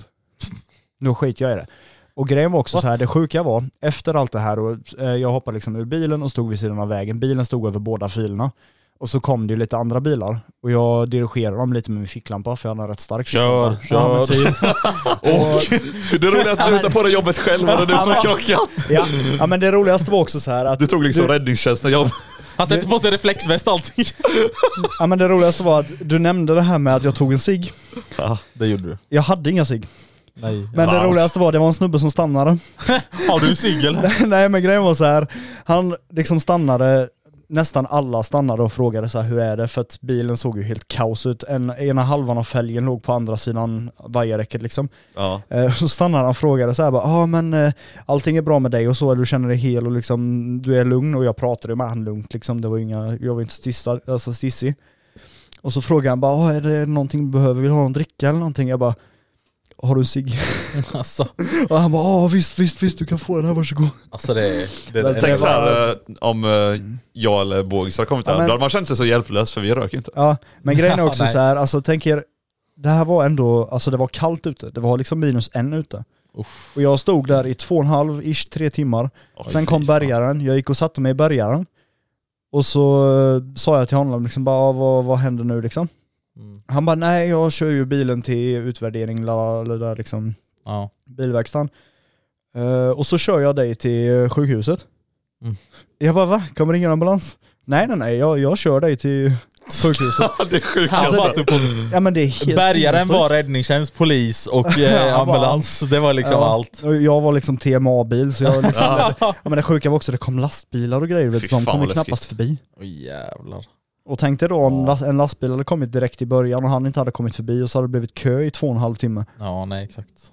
nu skiter jag i det. Och grejen var också What? så här, det sjuka var, efter allt det här, och eh, jag hoppade liksom ur bilen och stod vid sidan av vägen, bilen stod över båda filerna. Och så kom det ju lite andra bilar och jag dirigerade dem lite med min ficklampa för jag hade en rätt stark Kör, ficklampa. Ja, men kör. typ. och, Det roliga är att du tar på dig jobbet själv och det är du som är krockad. ja, ja men det roligaste var också så här att Du tog liksom räddningstjänsten jobb. Han sätter på sig reflexväst och allting. Ja men det roligaste var att du nämnde det här med att jag tog en cigg. Det gjorde du. Jag hade inga cigg. Nej. Men det Wow. roligaste var att det var en snubbe som stannade. Har du singel? Nej men grejen var så här. han liksom stannade, nästan alla stannade och frågade så här, hur är det? För att bilen såg ju helt kaos ut. En, ena halvan av fälgen låg på andra sidan vajerräcket liksom. Ja. Eh, Så stannade han och frågade så här, bara, ja men eh, allting är bra med dig och så, du känner dig hel och liksom, du är lugn och jag pratade med han lugnt liksom, det var ju inga, jag var inte stissad, alltså stissig. Och så frågade han bara, "Ja, är det någonting du behöver, vill du ha någon dricka eller någonting? Jag bara, har du en cigg? Alltså, Och han bara, ja visst, visst, visst, du kan få den här, varsågod. alltså det är... Det, Men det, Tänk var- det, så här eh, om eh, jag eller Bågis hade kommit Ja, där, men- då hade man känt sig så hjälplös för vi rök inte. Ja, men grejen är också Nej. så här, alltså tänk er, det här var ändå, alltså det var kallt ute, det var liksom minus en ute. Och jag stod där i två och en halv, ish, tre timmar. Oj, Sen fy kom fan. bärgaren, jag gick och satte mig i bärgaren. Och så eh, sa jag till honom liksom bara, "Ah, vad, vad händer nu liksom? Mm. Han bara, nej jag kör ju bilen till utvärdering, la, la, la, liksom ja. bilverkstaden. Eh, och så kör jag dig till eh, sjukhuset. Mm. Jag bara va? Kommer ingen ambulans? Nej nej nej, jag, jag kör dig till sjukhuset. det är sjukt. Han Alltså, satt upp på- Ja men det är helt Bärgaren sinnessjukt. var räddningstjänst, polis och eh, Han bara- ambulans. Det var liksom Ja, allt. och Jag var liksom TMA-bil så jag liksom, ja men det sjuka var också det kom lastbilar och grejer, vet Fy du, de fan, kom ju vad knappast läskigt. förbi. Åh jävlar. Och tänk dig då om Ja. las- en lastbil hade kommit direkt i början och han inte hade kommit förbi och så hade det blivit kö i två och en halv timme. Ja, nej exakt.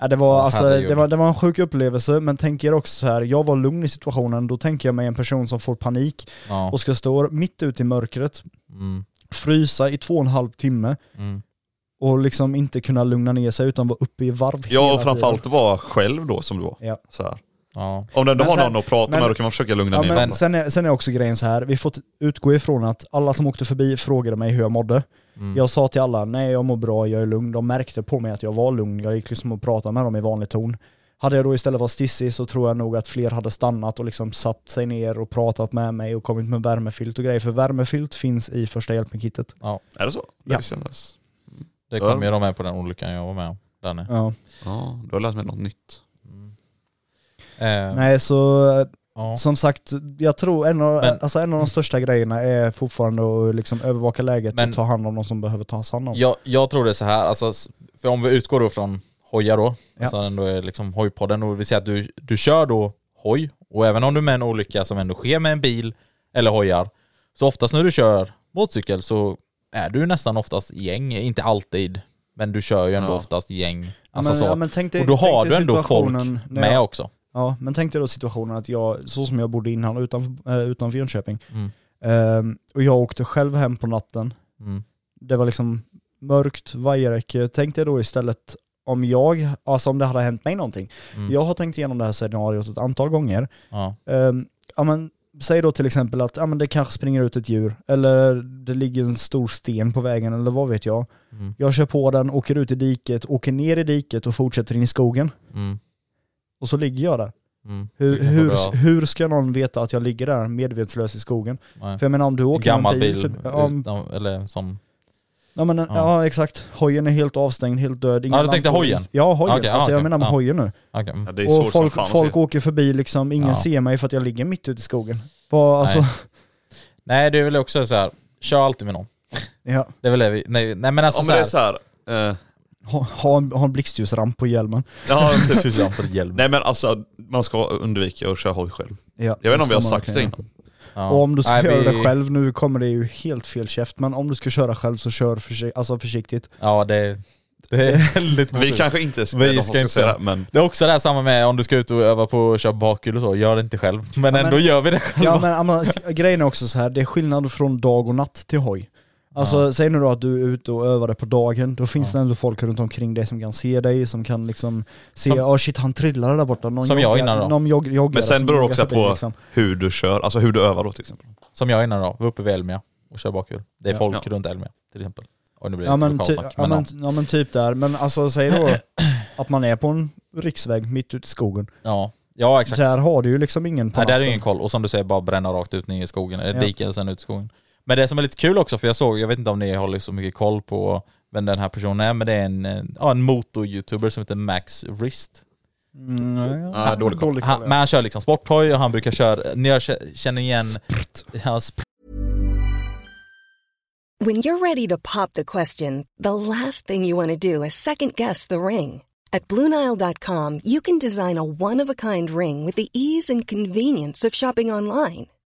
Ja, det, var, Ja, alltså, herregud. det, var, det var en sjuk upplevelse, men tänk er också så här, jag var lugn i situationen, då tänker jag mig en person som får panik Ja. och ska stå mitt ute i mörkret, Mm, frysa i två och en halv timme mm. och liksom inte kunna lugna ner sig utan vara uppe i varv ja, hela och framförallt vara själv då som du var. Ja. Så här. Ja. Om det ändå Men har sen- någon att prata men- med då kan man försöka lugna Ja, ner men varandra. sen, är, sen är också grejen så här, vi får t- utgå ifrån att alla som åkte förbi frågade mig hur jag mådde. Mm. Jag sa till alla, nej jag mår bra, jag är lugn. De märkte på mig att jag var lugn, jag gick liksom och pratade med dem i vanlig ton. Hade jag då istället varit stissig så tror jag nog att fler hade stannat och liksom satt sig ner och pratat med mig och kommit med värmefilt och grejer. För värmefilt finns i första hjälpen-kittet. Är det så? Ja. Det visste jag inte ens. Det kom ju de med på den olyckan jag var med om. Där nu. Ja. Ja, du har lärt mig något nytt. Mm. Eh, Nej så eh, Ja. som sagt, jag tror en av, Men- alltså en av de största grejerna är fortfarande att liksom övervaka läget Men- och ta hand om de som behöver tas hand om. Jag, jag tror det är så här, alltså, s- för om vi utgår då från hojar då, Ja. alltså ändå är liksom hojpodden, och vi säger att du, du kör då hoj, och även om du är med i en olycka som ändå sker med en bil eller hojar, så oftast när du kör motorcykel så är du nästan oftast i gäng, inte alltid, men du kör ju ändå Ja. oftast i gäng. Alltså men, så. ja, men tänk dig, och då tänk har dig du ändå folk situationen när med jag- också. Ja, men tänk dig då situationen att jag, så som jag bodde innan utanför, eh, utanför Jönköping, Mm. ehm, och jag åkte själv hem på natten. Mm. Det var liksom mörkt, vajerräcke. Tänk dig då istället om jag, alltså om det hade hänt mig någonting. Mm. Jag har tänkt igenom det här scenariot ett antal gånger. Ja. Ehm, ja, men, säg då till exempel att ja, men det kanske springer ut ett djur, eller det ligger en stor sten på vägen, eller vad vet jag. Mm. Jag kör på den, åker ut i diket, åker ner i diket och fortsätter in i skogen. Mm. Och så ligger jag där. Mm. Hur, Du kan bara hur, dra- hur ska någon veta att jag ligger där medvetslös i skogen? nej. För jag menar om du åker gammal en bil... bil, förbi- ja, om, utan, eller som... ja, men, ja. Ja. exakt, hojen är helt avstängd, helt död. ingen Ja, du tänkte lampor. hojen? Ja hojen, Okej, ja, alltså jag okej. menar med Ja. hojen nu. okej, mm. Ja, det är svårt Och folk, som fan folk att se. åker förbi liksom, ingen Ja. ser mig för att jag ligger mitt ute i skogen. Vad, alltså, Nej. Nej, det är väl också så här. kör alltid med någon. ja, Det är väl det vi, nej, nej men alltså Ja men det är så såhär. här. eh, ha, ha, en, ha en blixtljusramp på hjälmen. ja, typ. hjälm. Nej men alltså, man ska undvika att köra hoj själv. Ja, Jag vet inte om ska vi har man sagt det verkligen göra. innan. Ja. Och om du ska Nej, göra vi- det själv, nu kommer det ju helt fel käft, men om du ska köra själv så kör försi- alltså försiktigt. Ja det, det är väldigt Vi motigt. kanske inte Vi de som ska inte säga säga. det, men Det är också det här samma med om du ska ut och öva på att köra bakhjul och så, gör det inte själv. Men ändå gör vi det själva. Ja men amma, grejen är också så här, det är skillnad från dag och natt till hoj. Alltså säg nu då att du är ute och övar det på dagen, då finns det ändå folk runt omkring dig som kan se dig, som kan liksom se, Som- ja shit han trillade där borta. Någon Som jag joggar- innan då. Någon jog, joggare Men sen som beror det joggar också förbi, liksom. på- liksom. hur du kör, alltså hur du övar då till exempel. Som jag innan då, var uppe vid Elmia och kör bakhjul. Det är Ja. folk Ja. runt Elmia till exempel. Och nu blir det Ja men, ty, lokalsnack, ja, men men, ja men typ där, men alltså säg då att man är på en riksväg mitt ute i skogen. ja. ja exakt. Där har du ju liksom ingen på Nej, där är natten. ingen koll. Och som du säger, bara bränna rakt ut ner i skogen, eller Ja. diken och sen ut i skogen. Men det som är lite kul också, för jag såg, jag vet inte om ni har så mycket koll på vem den här personen är, men det är en, eh, ja, en motor-youtuber som heter Max Wrist. Mm, ja, ja. Ah, dålig koll. Han, men han kör liksom sporthoj och han brukar köra, när jag k- känner igen hans When you're ready to pop the question, the last thing you want to do is second guess the ring. At Bluenile.com, you can design a one of a kind ring with the ease and convenience of shopping online.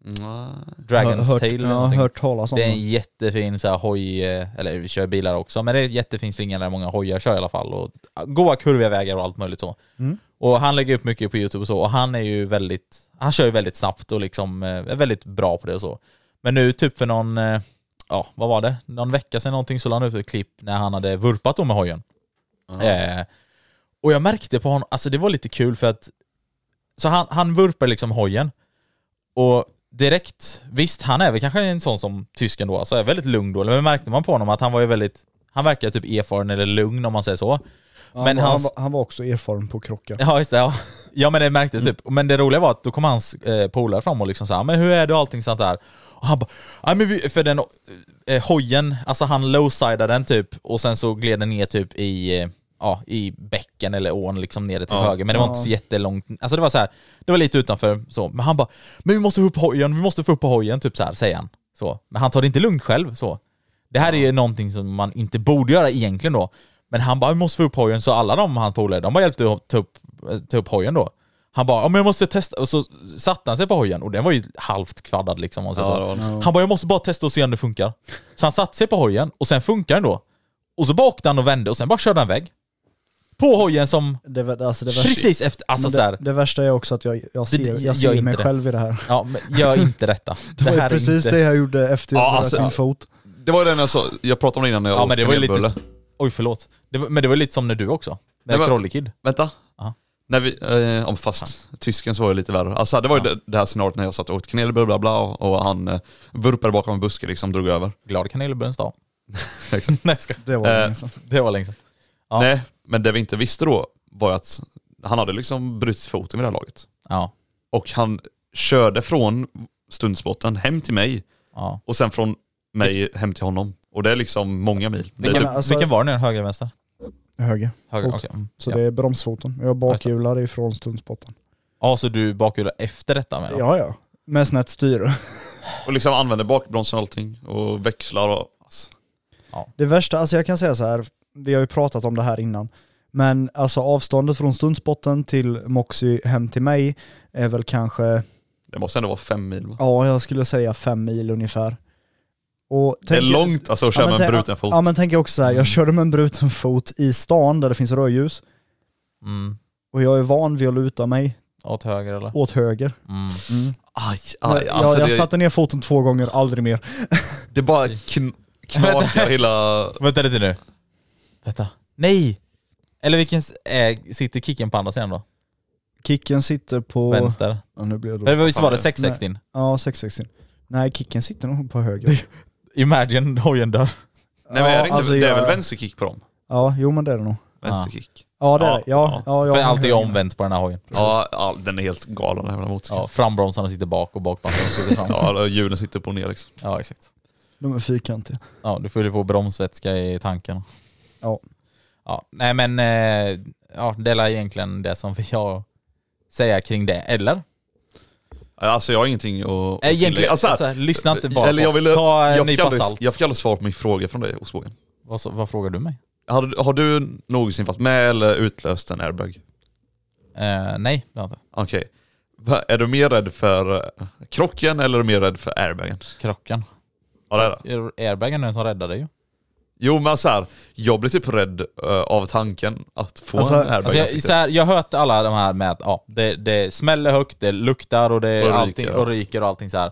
Dragon's Mm, Hör- hört- Tail eller ja, någonting. hört talas om Det är den. en jättefin så här, hoj, eh, eller vi kör bilar också, men det är en jättefin slinga där många hojar kör i alla fall. Och ja, goa kurviga vägar och allt möjligt så. Mm. Och han lägger upp mycket på Youtube och så, och han är ju väldigt, han kör ju väldigt snabbt och liksom eh, är väldigt bra på det och så. Men nu typ för någon, eh, ja vad var det, någon vecka sedan någonting så la han ut ett klipp när han hade vurpat då med hojen. Eh, och jag märkte på honom, alltså det var lite kul för att, så han, han vurpar liksom hojen. Och direkt, visst han är väl kanske en sån som tysken då, alltså är väldigt lugn då, men märkte man på honom att han var ju väldigt, han verkar typ erfaren eller lugn om man säger så. Ja, men han, var- hans- han, var- han var också erfaren på att krocka. Ja just det, ja. ja men det märktes typ. Men det roliga var att då kom hans eh, polare fram och liksom sa men hur är du och allting sånt där. Och han bara, "Ja, men vi, för den eh, hojen, alltså han lowsidade den typ och sen så gled den ner typ i, eh, ja, i bäcken eller ån liksom nere till Ja. höger. Men det var Ja. inte så jättelångt, alltså det var så här, det var lite utanför så. Men han bara, men vi måste få upp hojen, vi måste få upp hojen typ så här, säger han. Så. Men han tar det inte lugnt själv så. Det här är ju någonting som man inte borde göra egentligen då. Men han bara, vi måste få upp hojen, så alla de han polare, de bara hjälpte att ta upp, ta upp hojen då. Han bara, ja men jag måste testa, och så satte han sig på hojen och den var ju halvt kvaddad liksom. Och så, Ja, det så. var det. Han bara, jag måste bara testa och se om det funkar. Så han satte sig på hojen och sen funkar den då. Och så bara åkte han och vände och sen bara körde han iväg. På hojen som... Det, var- alltså det värsta, precis efter, alltså Men så här, det, det värsta är också att jag, jag Det- ser, jag jag ser inte mig det. själv i det här. ja men gör inte detta. Det, var ju här är precis inte- det jag gjorde efter jag Ja, bröt alltså, min ja. fot. Det var ju den jag sa, jag pratade om det innan när jag Ja men det var ju ner lite... Bulle. Oj förlåt. Det var, men det var lite som när du också. Nej, När men- Trollekid. Vänta. Ja. När vi, eh, om fast tysken så var det lite värre. Alltså det var ju det, det här scenariot när jag satt och åt kanel bla bla bla och, och han eh, vurpade bakom en buske liksom, drog över. Glad kanelbullens dag. Exakt. Nej, jag skojar. Det var Eh, länge sedan. Det var länge sedan. Ja. Nej, men det vi inte visste då var ju att han hade liksom brutit foten vid det här laget. Ja. Och han körde från stundspotten hem till mig ja. och sen från mig hem till honom. Och det är liksom många mil. Det är Vilken, typ, alltså- vilken var det nu? Höger, vänster? Höger. Höger, Fot. okej. Mm, Så ja. Alltså. det är bromsfoten. Jag bakhjular ifrån stundspotten. ja, så du bakhjular efter detta menar jag? Ja, ja. Med snett styre. och liksom använder bakbromsen och allting och växlar och... Alltså, Det värsta, alltså jag kan säga så här, vi har ju pratat om det här innan, men alltså avståndet från stundspotten till Moxie hem till mig är väl kanske, det måste ändå vara fem mil va? ja jag skulle säga fem mil ungefär. Och Det är tänk- långt alltså att köra men med en tänk- bruten fot. Ja men tänk också så här, Mm. jag körde med en bruten fot i stan där det finns rödljus Mm. och jag är van vid att luta mig Åt höger eller? åt höger. Mm. Aj, jag aj, alltså jag det, satte ner foten två gånger, aldrig mer. det bara kn knakar hela... Vänta lite nu. Vänta. Nej! Eller vilken... s- Äh, sitter kicken på andra sidan då? Kicken sitter på... Vänster? Ja, nu blev Eller det... visst var det Nej. 660? in? Ja, 660. Nej, kicken sitter nog på höger. Imagine hojen dör. Nej men är det, inte, alltså det är jag- väl vänsterkick på dem? Ja, jo men det är det nog. Vänsterkick. Ja det är Ja, det. Ja, ja, ja, För jag allt är ju har- omvänt på den här hojen. Ja, ja, den är helt galen den här jävla motorcykeln. Ja, frambromsarna sitter bak och bakbromsarna sitter fram. Ja, då hjulen sitter upp och ner liksom. Ja, exakt. De är fyrkantiga. Ja, du fyller på bromsvätska i tanken. Ja. Ja, nej men... eh, Ja, det är väl egentligen det som vi har att säga kring det, eller? Alltså jag har ingenting att- att... Nej, Egentligen, tillägga. alltså, här, lyssna inte bara eller på jag oss. ville- Ta en jag fick nypa aldrig- salt. Jag fick aldrig svar på min fråga från dig, Osbågen. Vad, så- vad frågar du mig? Har, har du någonsin varit med eller utlöst en airbag? Eh, nej, det har jag inte. Okej. Va- Är du mer rädd för eh, krocken eller är du mer rädd för airbagen? Krocken. Ja, det är det. Air- Airbagen är den som räddade dig ju. Jo men alltså så här, jag blir typ rädd eh, av tanken att få Alltså, en airbag Alltså i jag, ansiktet. så här, jag har hört alla de här med att ja, det, det smäller högt, det luktar och det Och ryker allting, och och allt. ryker och allting så här.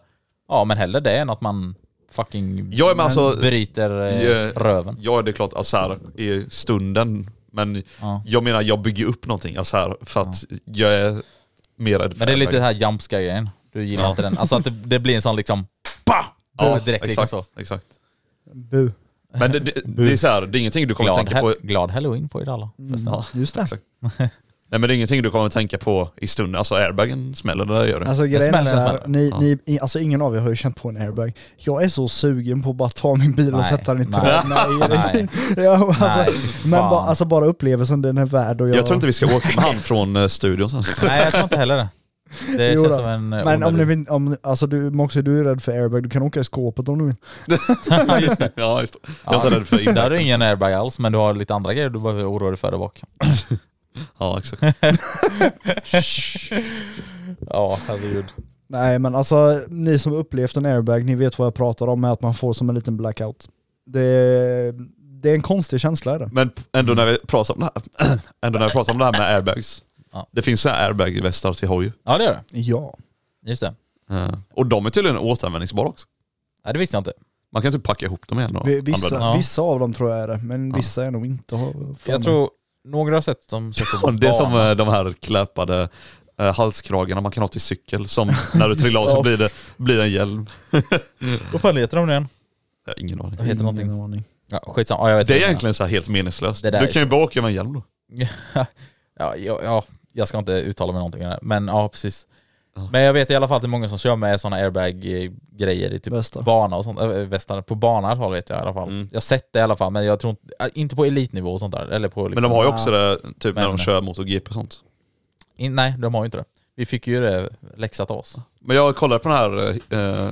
Ja men hellre det än att man fucking Jag är med alltså- bryter eh, Ja. röven. Ja det är klart, alltså så här, i stunden. Men Ja. jag menar jag bygger upp någonting alltså här, för att jag är mer rädd för Men det är lite airbagen. den här jump scare grejen. Du gillar inte den. Alltså att det, det blir en sån liksom... Bah! Ja, direkt exakt, liksom så. exakt. Bu. Men det, det, det är så här, det är ingenting du kommer Glad, tänka på... Mm. he- glad halloween på er alla. förresten. Ja, Just det. exakt. Nej men det är ingenting du kommer tänka på i stunden, alltså airbagen smäller, det där gör det. Alltså grejen är smäller, så här, smäller. ni, Ja. ni, i- alltså ingen av er har ju känt på en airbag. Jag är så sugen på att bara ta min bil och Nej, sätta den i nej. träd. Nej, Nej. ja, alltså, Nej, fy men fan. bara, alltså, bara upplevelsen den är värd. Och jag, jag tror inte vi ska åka med han från eh, studion sen. Nej jag tror inte heller det. Det Jo känns då. som en eh, Men om ni onödig- vill, om, alltså du, Moxie, du är rädd för airbag, du kan åka i skåpet om du vill. Ja, just det. ja just det. Jag är inte rädd för Där har impact. du ingen airbag alls, men du har lite andra grejer du behöver oroa dig för där bak. Ja exakt. ja, herregud. Nej men alltså, ni som upplevt en airbag, ni vet vad jag pratar om med att man får som en liten blackout. Det, det är en konstig känsla är det. Men p- ändå när vi pratar om det här, ändå när vi pratar om det här med airbags. Det finns så här airbag-västar till hoj. Ja det gör det. Ja. Just det. Eh, Och de är tydligen återanvändningsbara också. Nej det visste jag inte. Man kan typ packa ihop dem igen och Vi- Vissa, använda dem. vissa av dem tror jag är det, men vissa är nog inte har för Jag mig. tror några har sett dem som Ja, på Det är som banan. eh, de här kläpade eh, halskragarna man kan ha till cykel som när du trillar av så Just blir det, blir det en hjälm. Vad fan heter de nu igen? Jag har ingen aning. De heter någonting. aning. Ja, skitsamma. Ja, jag vet Det är inte. egentligen så här helt meningslöst. Det där Du kan är ju så. bara åka med en hjälm då. Ja, ja, ja, jag ska inte uttala mig någonting om det, men ja precis. Men jag vet i alla fall att det är många som kör med sådana airbag-grejer i typ Västar. bana och sånt, äh, västar, på bana i alla fall vet jag i alla fall. Jag har sett det i alla fall men jag tror inte, äh, inte på elitnivå och sånt där. Eller på liksom, Men de har ju också det typ när Men- de kör MotoGP och sånt. In, nej de har ju inte det. Vi fick ju det läxat av oss. Men jag kollade på den här... Eh,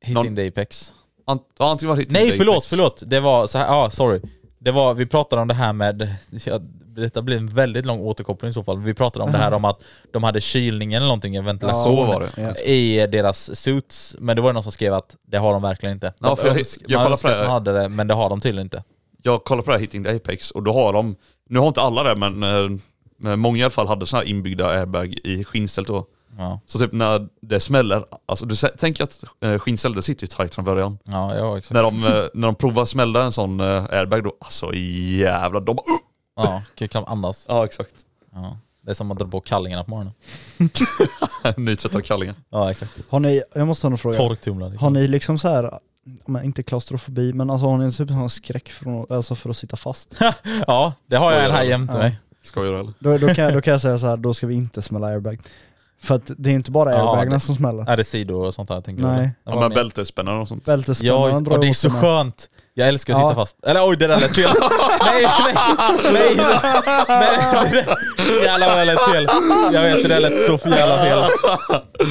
Hitting Någon- the apex. ant- ja, antingen var det Hitting Nej the förlåt, Apex. förlåt! Det var så här, ja sorry. Det var, vi pratade om det här med, ja, detta blir en väldigt lång återkoppling i så fall, vi pratade om det här om att de hade kylning eller någonting, en ventilation Mm. så var det. Ja. Liksom, i deras suits, men det var ju någon som skrev att det har de verkligen inte. Ja, för jag- Öns- jag man kollade önskar på att det. de hade det, men det har de tydligen inte. Jag kollade på det här Hitting the Apex och då har de... Nu har inte alla det men eh, många i alla fall hade såna här inbyggda airbag i skinnstället då. Ja, Så typ när det smäller, alltså du sä- tänk att eh, skinnstället det sitter ju tight från början. ja, ja exakt. När de, eh, när de provar att smälla en sån eh, airbag då, alltså jävlar, de bara uh! Ja, kan ju knappt andas. Ja exakt. Ja. Det är som att dra på kallingarna på morgonen. Nytvättade kallingar. Ja exakt. Har ni, jag måste ha en fråga. Torktumlare. Har ni liksom så här, men inte klaustrofobi, men alltså har ni en typ sån skräck för, att- alltså för att sitta fast? Ja, det har jag en här Skojar. jämte Ja. mig. Skojar du eller? Då, då, kan, jag- då kan jag säga så här, då ska vi inte smälla airbag. För att det är inte bara Ja, airbagarna det- som smäller. Är det sidor och sånt här tänker Nej. du? eller? Ja, Vad men menar- bältesspännare och sånt. Ja, Bältespännaren och det är så åt mig. skönt. Jag älskar att Ja. sitta fast. Eller oj, det där lät fel. nej, nej, nej. nej, nej. Jävlar vad det lät fel. Jag vet, det där lät så för jävla fel.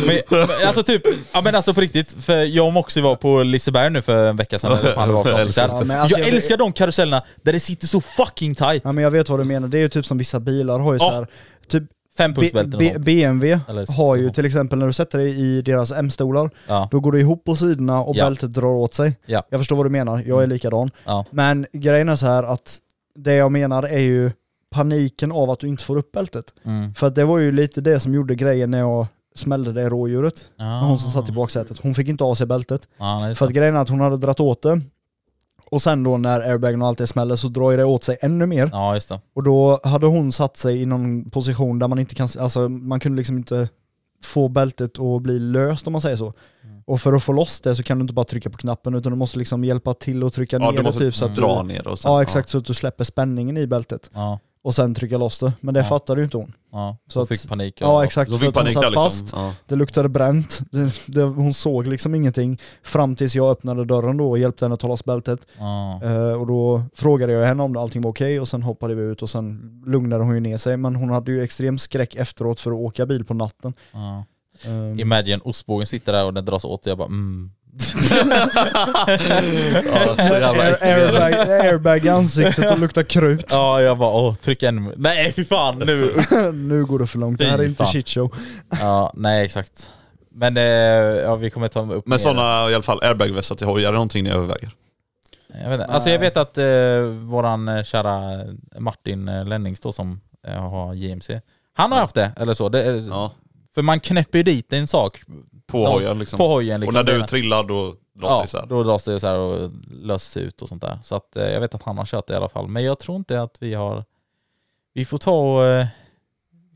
Men, men alltså typ, ja men alltså på riktigt. För jag och Moxie var på Liseberg nu för en vecka sedan. Eller vad fan det var för Jag någonting. älskar Så här. det. Ja, men alltså, jag jag- älskar de karusellerna där det sitter så fucking tight. Ja men jag vet vad du menar, det är ju typ som vissa bilar har ju så Ja. här, typ Fempunktsbälten och B- B- sånt. BMW Eller så- har ju till exempel när du sätter dig i deras M-stolar, Ja. då går du ihop på sidorna och Ja. bältet drar åt sig. Ja. Mm. Jag förstår vad du menar, jag är likadan. Ja. Men grejen är så här att det jag menar är ju paniken av att du inte får upp bältet. Mm. För att det var ju lite det som gjorde grejen när jag smällde det rådjuret. Ah. Hon som satt i baksätet, hon fick inte av sig bältet. Ja, nej, För att grejen är att hon hade dratt åt det, och sen då när airbagen och allt det smäller så drar ju det åt sig ännu mer. ja just det. Och då hade hon satt sig i någon position där man inte kan, alltså man kunde liksom inte få bältet att bli löst om man säger så. Mm. Och för att få loss det så kan du inte bara trycka på knappen utan du måste liksom hjälpa till och trycka Ja, ner du måste det typ så att dra du, ner och sen, Ja exakt, så att du släpper spänningen i bältet Ja, och sen trycka loss det. Men det Ja. fattade ju inte hon. ja. Så Så att- fick panik. Ja, exakt, Så för fick att hon panik där satt liksom. fast. Ja. Det luktade bränt, det, det, hon såg liksom ingenting fram tills jag öppnade dörren då och hjälpte henne att ta loss bältet. Ja. Eh, och då frågade jag henne om det, allting var okej och sen hoppade vi ut och sen lugnade hon ju ner sig men hon hade ju extrem skräck efteråt för att åka bil på natten. Ja. Ehm, Imagine ostbågen sitter där och den dras åt och jag bara mm. Ja, så jävla air- äcklig. airbag, airbag i ansiktet och luktar krut. Ja jag bara åh, tryck en... Nej fy fan nu! nu går det för långt, det här är Fy inte fan. shitshow. ja, nej exakt. Men eh, ja, vi kommer ta upp mer. Men sådana i alla fall airbagvästar till hojar, är det någonting ni överväger? Jag vet, inte. alltså jag vet att eh, våran eh, kära Martin eh, Lennings då som eh, har JMC, han har haft det eller så. Det, är- Ja. För man knäpper ju dit en sak På Ja, hojen liksom. på hojen liksom. Och när Det- du trillar då dras det ja, isär. då dras det så här och löses ut och sånt där. Så att eh, jag vet att han har kört det i alla fall. Men jag tror inte att vi har... Vi får ta och eh,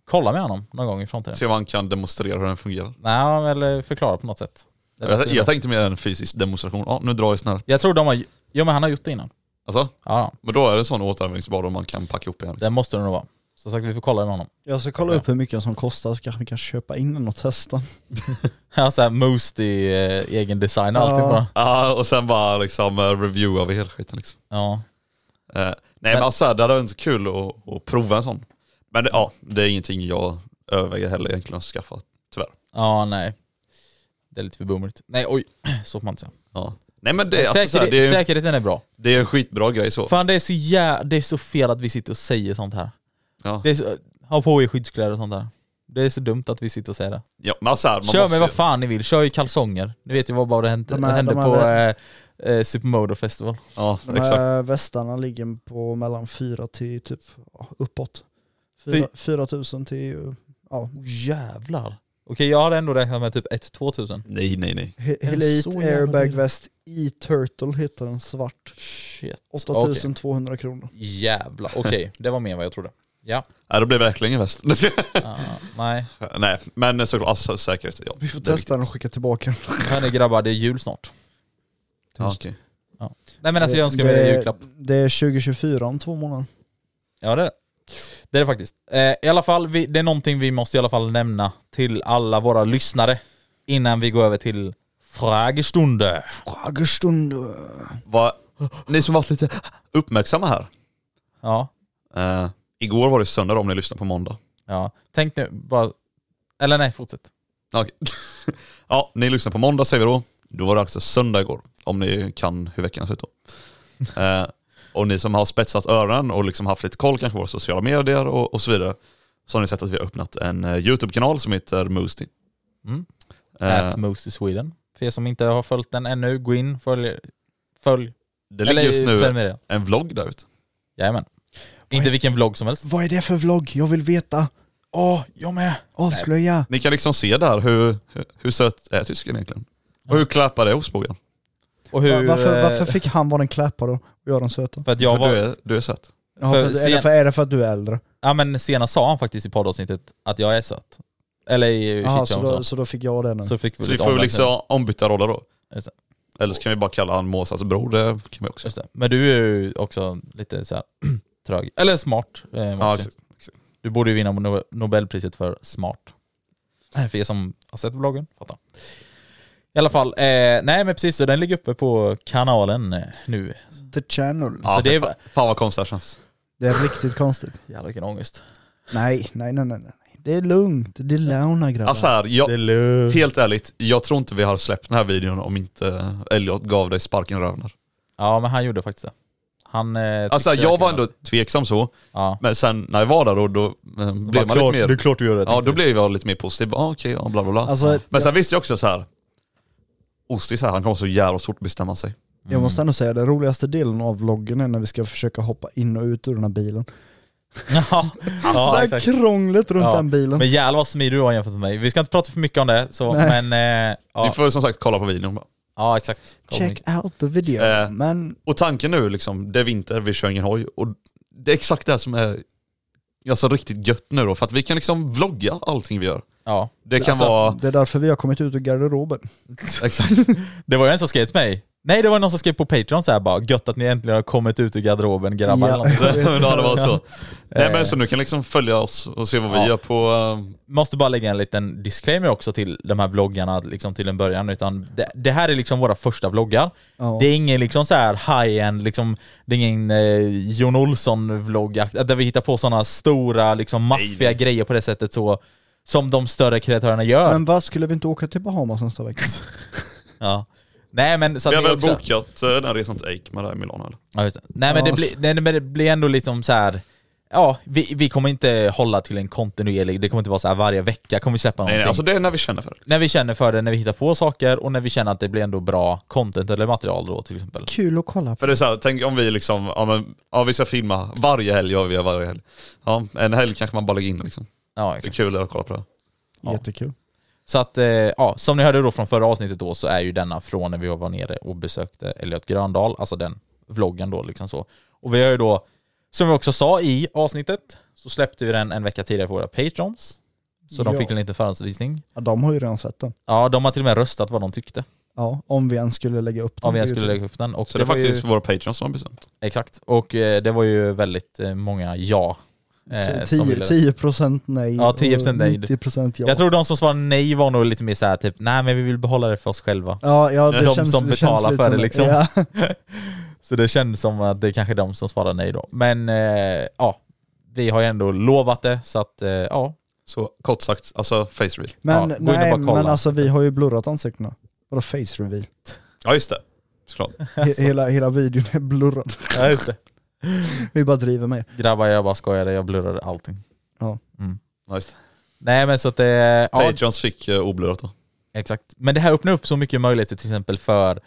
kolla med honom någon gång i framtiden. Se om han kan demonstrera hur den fungerar. Nej, eller förklara på något sätt. Det låter Jag, ju bra. jag tänkte mer en fysisk demonstration. Ja, nu drar jag snart. jag tror de har... Ja men han har gjort det innan. Alltså, Ja, men då är det en sån återanvändningsbar om man kan packa ihop igen. det Liksom. måste det nog vara. Som sagt, vi får kolla med honom. Jag ska kolla upp hur mycket som kostar så kanske vi kan köpa in den och testa. Ja, såhär Most i eh, egen design och Ja. allting bara. Ja, och sen bara liksom eh, review av hela skiten liksom. Ja. Eh, nej men, alltså det hade varit så kul att, att prova en sån. Men det, ja, det är ingenting jag överväger heller egentligen att skaffa, tyvärr. ja, nej. Det är lite för boomerigt. Nej oj, så får man inte säga. Ja. Nej men det, är alltså, så här, Säkerhet, det, är, Säkerheten är bra. det är en skitbra grej så. Fan det är så jä... det är så fel att vi sitter och säger sånt här. Ja. Det är så... Ha på er skyddskläder och sånt där. Det är så dumt att vi sitter och säger det. Ja, men alltså här, man Kör måste med ju- vad fan ni vill, kör i kalsonger. Ni vet ju vad bara det hände, De här- hände de här på vä- eh, eh, Supermodo festival. Ja, De här västarna ligger på mellan 4 till typ ja, uppåt. Fy- 4 000 till, ja. Jävlar. Okej jag hade ändå räknat med typ 1-2 tusen. Nej, nej, nej. He- Är det Elite så jävla Airbag dyrt? Vest E-Turtle heter den svart. Shit. 8200 kronor. Okej. Jävlar, okej. Det var mer än vad jag trodde. Ja. Nej, då blir det verkligen ingen väst. Nej, ska- Ah, nej. nej, men såklart, alltså, säkerhet. Ja, Vi får det är testa den och viktigt. skicka tillbaka den. Hörni grabbar, det är jul snart. Ja, okej. Nej men alltså jag önskar Det- mig en julklapp. Det är 2024 om två månader. Ja det är det. Det är det faktiskt. Eh, I alla fall, vi, det är någonting vi måste i alla fall nämna till alla våra lyssnare innan vi går över till frågestunde. Frågestund. Vad- Ni som varit lite uppmärksamma här. Ja, Eh, igår var det söndag om ni lyssnar på måndag. ja. Tänk nu bara... Eller nej, fortsätt. Ja, okej. ja, ni lyssnar på måndag säger vi då. Då var det alltså söndag igår, om ni kan hur veckan ser ut då. Eh, och ni som har spetsat öronen och liksom haft lite koll kanske på våra sociala medier och, och så vidare, så har ni sett att vi har öppnat en eh, YouTube-kanal som heter Moosty. Mm. Eh, At Most i Sweden. För er som inte har följt den ännu, gå in, följ. Följ. det ligger just nu prenumerera. en vlogg där ute. Jajamän. Inte vilken vlogg som helst. Vad är det för vlogg? Jag vill veta. Åh, jag med! Avslöja. Ni kan liksom se där hur, hur, hur söt är tysken egentligen? Och hur klappar det ostbågen? Och hur... varför, varför eh, fick han vara den kläppa då? Och jag den söta? För att jag För var... du, är, du är söt. Ja, för för, sen- eller för, är det för att du är äldre? Ja men senast sa han faktiskt i poddavsnittet att jag är söt. Eller i Jaha, shit så, då, så då fick jag det nu. så fick vi Så vi lite får väl omvänt nu. liksom ombyta roller då. Just Eller så kan vi bara kalla han Måsas bror, det kan vi också. Just det. Men du är ju också lite så här trög. Eller smart. Eh, Ja, Martin. exakt. Du borde ju vinna Nobel- Nobelpriset för smart. För er som har sett vloggen, fattar. I alla fall, eh, nej men precis, så den ligger uppe på kanalen eh, nu. The channel. Ja, Så det är- fan, fan vad konstigt det här känns. Det är riktigt konstigt. Jävlar vilken ångest. Nej, nej, nej, nej. nej. Det är lugnt. Det är launa grabbar. Alltså här, jag, Det är lugnt. helt ärligt, jag tror inte vi har släppt den här videon om inte Elliot gav dig sparken i röven. Ja men han gjorde faktiskt det. Han... Eh, Alltså tyckte jag var verkligen ändå tveksam så, att- Ja. men sen när jag var där då, då eh, blev man lite mer... klart du gör det. ja, då blev jag lite mer positiv. Ah, okej, ja, bla bla bla. Alltså, men sen visste jag också så här. Osti så här, han kommer så jävla stort bestämma sig. Jag måste Mm. ändå säga, den roligaste delen av vloggen är när vi ska försöka hoppa in och ut ur den här bilen. ja, så ja, här exakt. krånglet runt Ja, den bilen. Men jävlar vad smidig du var jämfört med mig. Vi ska inte prata för mycket om det, så, Nej. men... Eh, Ni ja, får som sagt kolla på videon bara. ja, exakt. Kom in. Check out the video. Eh. Men Och tanken nu liksom, det är vinter, vi kör ingen hoj. Och det är exakt det här som är alltså, riktigt gött nu då, för att vi kan liksom vlogga allting vi gör. Ja. Det kan Alltså, vara... det är därför vi har kommit ut ur garderoben. Exakt. Det var ju en som skrev till mig. Nej, det var någon som skrev på Patreon så här bara gött att ni äntligen har kommit ut ur garderoben grabbar. eller någonting. jag vet. ja, det var så. Nej Eh. men så nu kan liksom följa oss och se vad Ja. vi gör på... eh, Måste bara lägga en liten disclaimer också till de här vloggarna liksom till en början. Utan det, det här är liksom våra första vloggar. Ja. Det är ingen liksom så här high-end, liksom, det är ingen eh, Jon Olsson-vlogg akt- där vi hittar på sådana stora liksom maffiga grejer på det sättet så som de större kreatörerna gör. Men vad skulle vi inte åka till Bahamas nästa vecka? Ja. Nej men så att vi har ni väl också... bokat eh, den resan till Eikman där i Milano eller? Ja, just det. Nej, men det Ja. blir, nej men det blir ändå liksom så här. Ja, vi, vi kommer inte hålla till en kontinuerlig, det kommer inte vara så här varje vecka kommer vi släppa Nej, någonting. nej, alltså det är när vi känner för det. När vi känner för det, när vi hittar på saker och när vi känner att det blir ändå bra content eller material då till exempel. Kul att kolla på. För det är så här, tänk om vi liksom, ja men, ja vi ska filma varje helg, gör vi varje helg. Ja, en helg kanske man bara lägger in liksom. Ja, Det är exakt. kul att kolla på det. Ja. Jättekul. Så att, eh, ja, som ni hörde då från förra avsnittet då så är ju denna från när vi var nere och besökte Elliot Gröndal, alltså den vloggen då liksom så. Och vi har ju då, som vi också sa i avsnittet, så släppte vi den en vecka tidigare för våra patrons. Så de Ja. fick en liten förhandsvisning. Ja, de har ju redan sett den. Ja, de har till och med röstat vad de tyckte. Ja, om vi ens skulle lägga upp den. Om på jag skulle YouTube. lägga upp den. Och Så det, är var faktiskt ju, våra patreons som har bestämt. Exakt. Och eh, det var ju väldigt eh, många ja. eh, T- som ville tio- det. 10% nej. Ja, 10% nej. och 90% ja. Jag tror de som svarade nej var nog lite mer såhär typ, nej men vi vill behålla det för oss själva. ja, ja, det de känns, som det känns betalar lite för som det, liksom. Ja. Så det kändes som att det är kanske är de som svarade nej då. Men eh, ja, vi har ju ändå lovat det så att eh, ja. Så kort sagt, alltså face reel. Ja, Men, gå in och bara nej, kolla. men alltså vi har ju blurrat ansiktena. Vadå face reveal? Ja just det, såklart. Alltså. He- Hela, hela videon är blurrad. ja just det. Vi bara driver med. Grabbar jag bara skojade, jag blurrade allting. Ja, just det. Mm. Nej men så att det... Ja, Patreons fick eh, oblurat då. Exakt. Men det här öppnar upp så mycket möjligheter till exempel för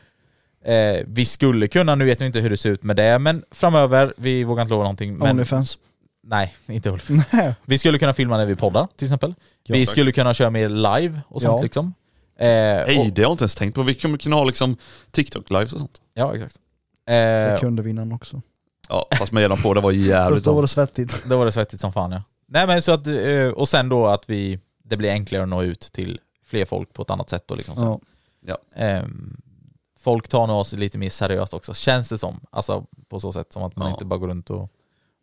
eh, vi skulle kunna, nu vet vi inte hur det ser ut med det, men framöver, vi vågar inte lova någonting. Men, Onlyfans. Nej, inte Onlyfans. Vi skulle kunna filma när vi poddar till exempel. Ja, vi säkert. skulle kunna köra mer live och sånt Ja. liksom. Eh, Hej, och, det har jag inte ens tänkt på. Vi kommer kunna ha liksom TikTok-lives och sånt. ja, exakt. Det Eh, kunde vinnaren också. Ja, fast med redan på, det var jävligt Första bra. året svettigt. då var det svettigt som fan ja. Nej men så att, eh, och sen då att vi, det blir enklare att nå ut till fler folk på ett annat sätt då liksom. Så. Ja. Ehm, folk tar nog oss lite mer seriöst också, känns det som. Alltså på så sätt som att man Ja. inte bara går runt och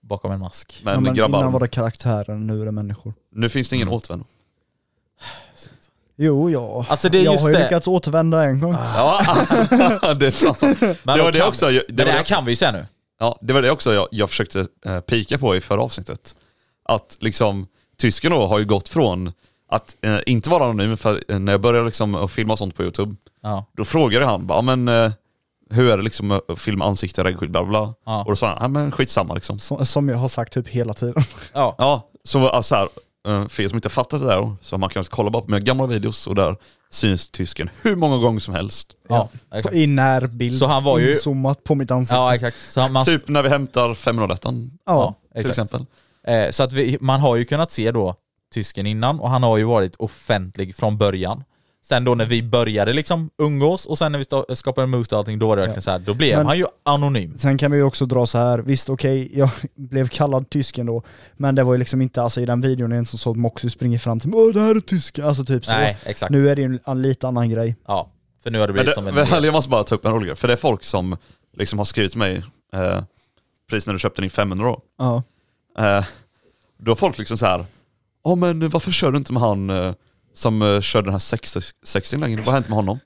bakom en mask. Men, ja, men innan var grabbar, det karaktärer, nu är det människor. nu finns det ingen Mm. återvändo. Jo, ja. Alltså, det är jag just har ju det. Ah. lyckats återvända en gång. Ja, det är sant. Men det var då det kan också. jag- Det, men var det det här också. kan vi ju säga nu. Ja, det var det också jag, jag försökte eh, pika på i förra avsnittet. Att liksom, tysken då har ju gått från att eh, inte vara anonym, för eh, när jag började liksom att filma sånt på YouTube, Ja. då frågade han bara, "Ja, men eh, hur är det liksom att filma ansikte, regnskydd, bla bla, bla. Ja. Och då sa han, "Ja, men skitsamma liksom. Som, som jag har sagt typ hela tiden. Ja. Ja, så alltså här, eh, för er som inte fattat det där, så man kan kolla bara på mina gamla videos och där syns tysken hur många gånger som helst. Ja, På- exakt. I närbild. Så han var ju- Inzoomat på mitt ansikte. Ja, exakt. Så, han- man, Typ när vi hämtar 501 till ja, ja. exakt. exempel. Eh, så att vi, man har ju kunnat se då tysken innan och han har ju varit offentlig från början. Sen då när vi började liksom umgås och sen när vi sta- skapade Moose och allting, då var det verkligen så här, då blev Men- han ju anonym. Sen kan vi ju också dra så här. visst okej, jag blev kallad tysken då, men det var ju liksom inte, alltså i den videon är det en som såg Moxie springer fram till mig Åh det här är tysken, alltså typ så. Nej, exakt. Nu är det ju en, en lite annan grej. Ja, för nu har det Men blivit som det, en... väl, jag måste bara ta upp en rolig grej, för det är folk som liksom har skrivit till mig eh, precis när du köpte din 500 då. Ja. Eh, då har folk liksom så här, ja men varför kör du inte med han eh, som eh, körde den här 60 60 längre? Vad har hänt med honom?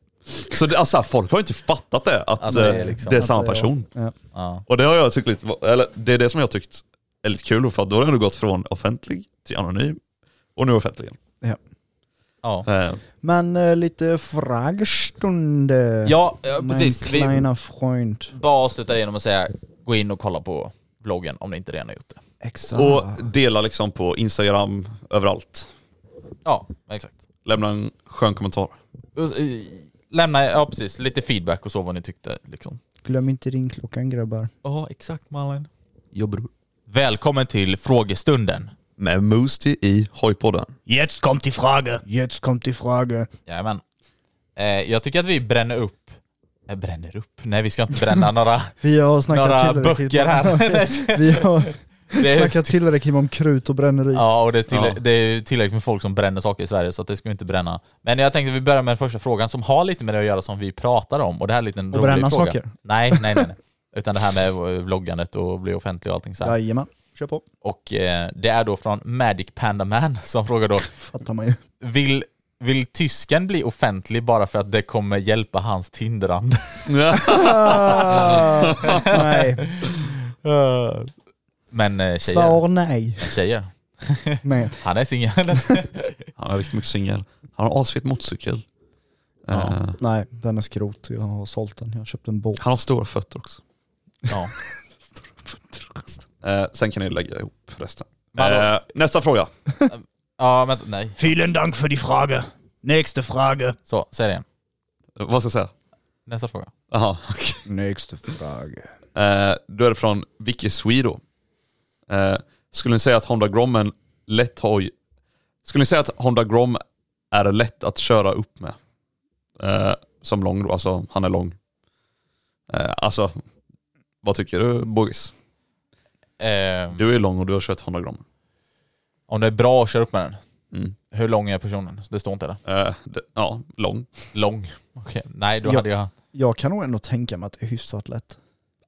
Så det, alltså, så här, folk har ju inte fattat det, att Att det är eh, liksom- det är Att samma det- person. Ja. Ja, Och det har jag tyckt lite, var- eller det är det som jag tyckt är lite kul för att då har jag ändå gått från offentlig till anonym och nu offentlig igen. ja. Eh, Men eh, lite frågestunde. ja eh, precis. Mein Vi kleiner Freund. bara avslutar det genom att säga, gå in och kolla på vloggen om ni inte redan har gjort det. Exakt. Ah. och dela liksom på Instagram, överallt. Ja, exakt. eh, Lämna en skön kommentar. Lämna, ja precis, lite feedback och så vad ni tyckte liksom. Glöm inte ringklockan grabbar. Ja, exakt Malin. Jag bror. Välkommen till frågestunden. Med Moosty i Hojpodden. Jetzt kommt die Frage. Jetzt kommt die Frage. Jajamän. Eh, jag tycker att vi bränner upp... Eh, bränner upp? Nej, vi ska inte bränna några, Vi har snackat några tillräckligt böcker här. Vi har det är, snackat tillräckligt om krut och bränneri. ja, och det är, till, Ja. det är tillräckligt med folk som bränner saker i Sverige, så att det ska vi inte bränna. Men jag tänkte att vi börjar med den första frågan som har lite med det att göra som vi pratar om. Och det här är lite en Och rolig bränna fråga. saker? Nej, nej, nej. nej. Utan det här med eh, vloggandet och bli offentlig och allting så här. Jajamän. Kör på. Och eh, det är då från Magic Panda Man som frågar då Fattar man ju. vill, vill tysken bli offentlig bara för att det kommer hjälpa hans tindrande? Ah, nej. Eh, Men eh, tjejer, Svar nej. tjejer, Men, han är singel. Han är riktigt mycket singel. Han har asfet motorcykel. Ja. Eh, nej, den är skrot. Jag har sålt den. Jag har köpt en båt. han har stora fötter också. ja. Eh, sen kan ni lägga ihop resten. Men då- Eh, nästa fråga. ja, men nej. Vielen Dank för die Frage. Nästa fråga. Så, säg det igen. Eh, Vad ska jag säga? Nästa fråga. Jaha. Nästa fråga. Eh, då är det från Vicky Swedo. Eh, skulle ni säga att Honda Grom är en lätt hoj... Skulle ni säga att Honda Grom är lätt att köra upp med? Eh, som lång då, alltså han är lång. Eh, alltså, vad tycker du Bogis? Ehm, Du är lång och du har kört Honda Grom. Om det är bra att köra upp med den. Mm. Hur lång är personen? Det står inte där. Eh, det, ja, lång. Lång. Okej. Nej, då Ja. hade jag... Jag kan nog ändå tänka mig att det är hyfsat lätt.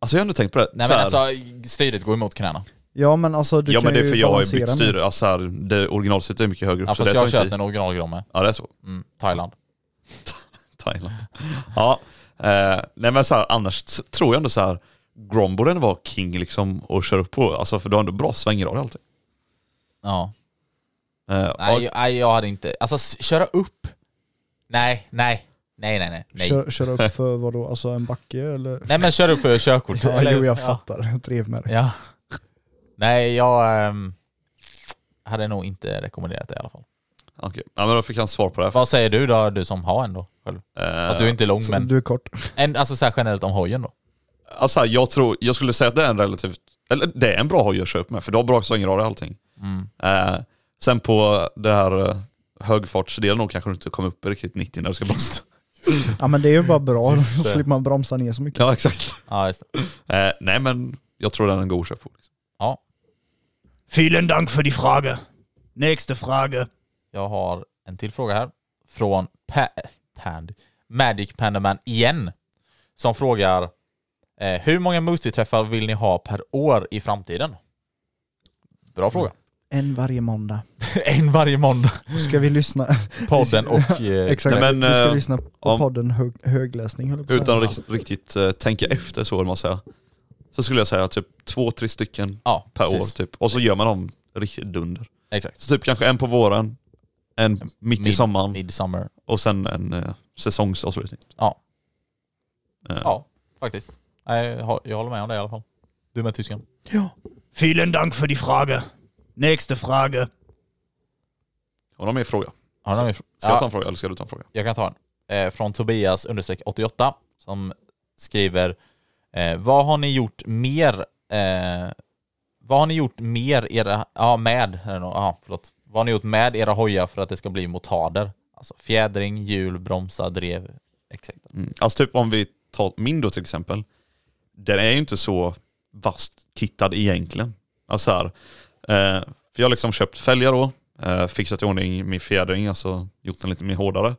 Alltså jag har ändå tänkt på det. Nej Så men här, alltså, styret går emot knäna. Ja men alltså du ja kan men det är ju för jag har balansera bytt med- styre. Alltså här, det originalstyret är mycket högre upp. Ja, så fast det jag har tar inte kört i. en originalgromme. Ja det är så. Mm, Thailand. Thailand. Ja, eh, nej men så här, annars t- tror jag ändå så här, Grom borde ändå vara king liksom och köra upp på, alltså för du har ändå bra svängrad alltid. Ja. Eh, Nej, och, jag- nej, jag hade inte... Alltså, s- köra upp? Nej, nej. Nej, nej, nej. Nej, Kör, kör upp för vadå, alltså en backe eller? nej men kör upp för körkort. Ja, Eller- jo jag ja. fattar, jag drev med det. Ja. Nej, jag ehm, hade nog inte rekommenderat det i alla fall. Okej. Ja men då fick han svar på det här. Vad säger du då, du som har en då? Själv? Fast du är inte lång så men... du är kort. En, alltså så här generellt om hojen då. Alltså här, jag tror, jag skulle säga att det är en relativt, eller det är en bra hoj att köra upp med för du har bra svängrad och allting. Mm. Eh, sen på det här eh, högfartsdelen då kanske du inte kommer upp i riktigt 90 när du ska blåsa. Ja men det är ju bara bra, då det. slipper man bromsa ner så mycket. ja exakt. Ja, just Eh, nej men jag tror den är en god köp. Ja. Vielen Dank für die Frage. Nächste Frage. Jag har en till fråga här. Från pa Pand Magic Pandaman igen. Som frågar eh, Hur många Moostie-träffar vill ni ha per år i framtiden? Bra fråga. En varje måndag. en varje måndag. Ska vi lyssna? Podden och... Eh, Exakt, Nej, men, vi ska eh, lyssna på om- podden hög, högläsning höll jag på att Utan säga. att rikt- riktigt eh, tänka efter så, vill man säga. Så skulle jag säga typ två, tre stycken Ja, per precis. år typ. Och så gör man dem riktigt dunder. Exakt. Så typ kanske en på våren, en mitt i mid- sommaren Midsummer. och sen en eh, säsongsavslutning. Ja. Eh, Ja, faktiskt. Nej, Jag, hå- jag håller med om det i alla fall. Du med tysken. Vielen Dank für die Frage. Nächste Frage. Har du någon mer fråga? Har du någon mer fr- Ska jag ta Ja. en fråga eller ska du ta en fråga? Jag kan ta en. Eh, från Tobias understreck 88 som skriver eh, Vad har ni gjort mer eh, Vad har ni gjort mer era, ja med, är det nog. ja förlåt. Vad har ni gjort med era hojar för att det ska bli motader? Alltså fjädring, hjul, bromsar, drev, etc. Mm. Alltså typ om vi tar min då till exempel. Den är ju inte så vast kittad egentligen. Alltså här, eh, för jag har liksom köpt fälgar då, eh, fixat i ordning min fjädring, alltså gjort den lite mer hårdare.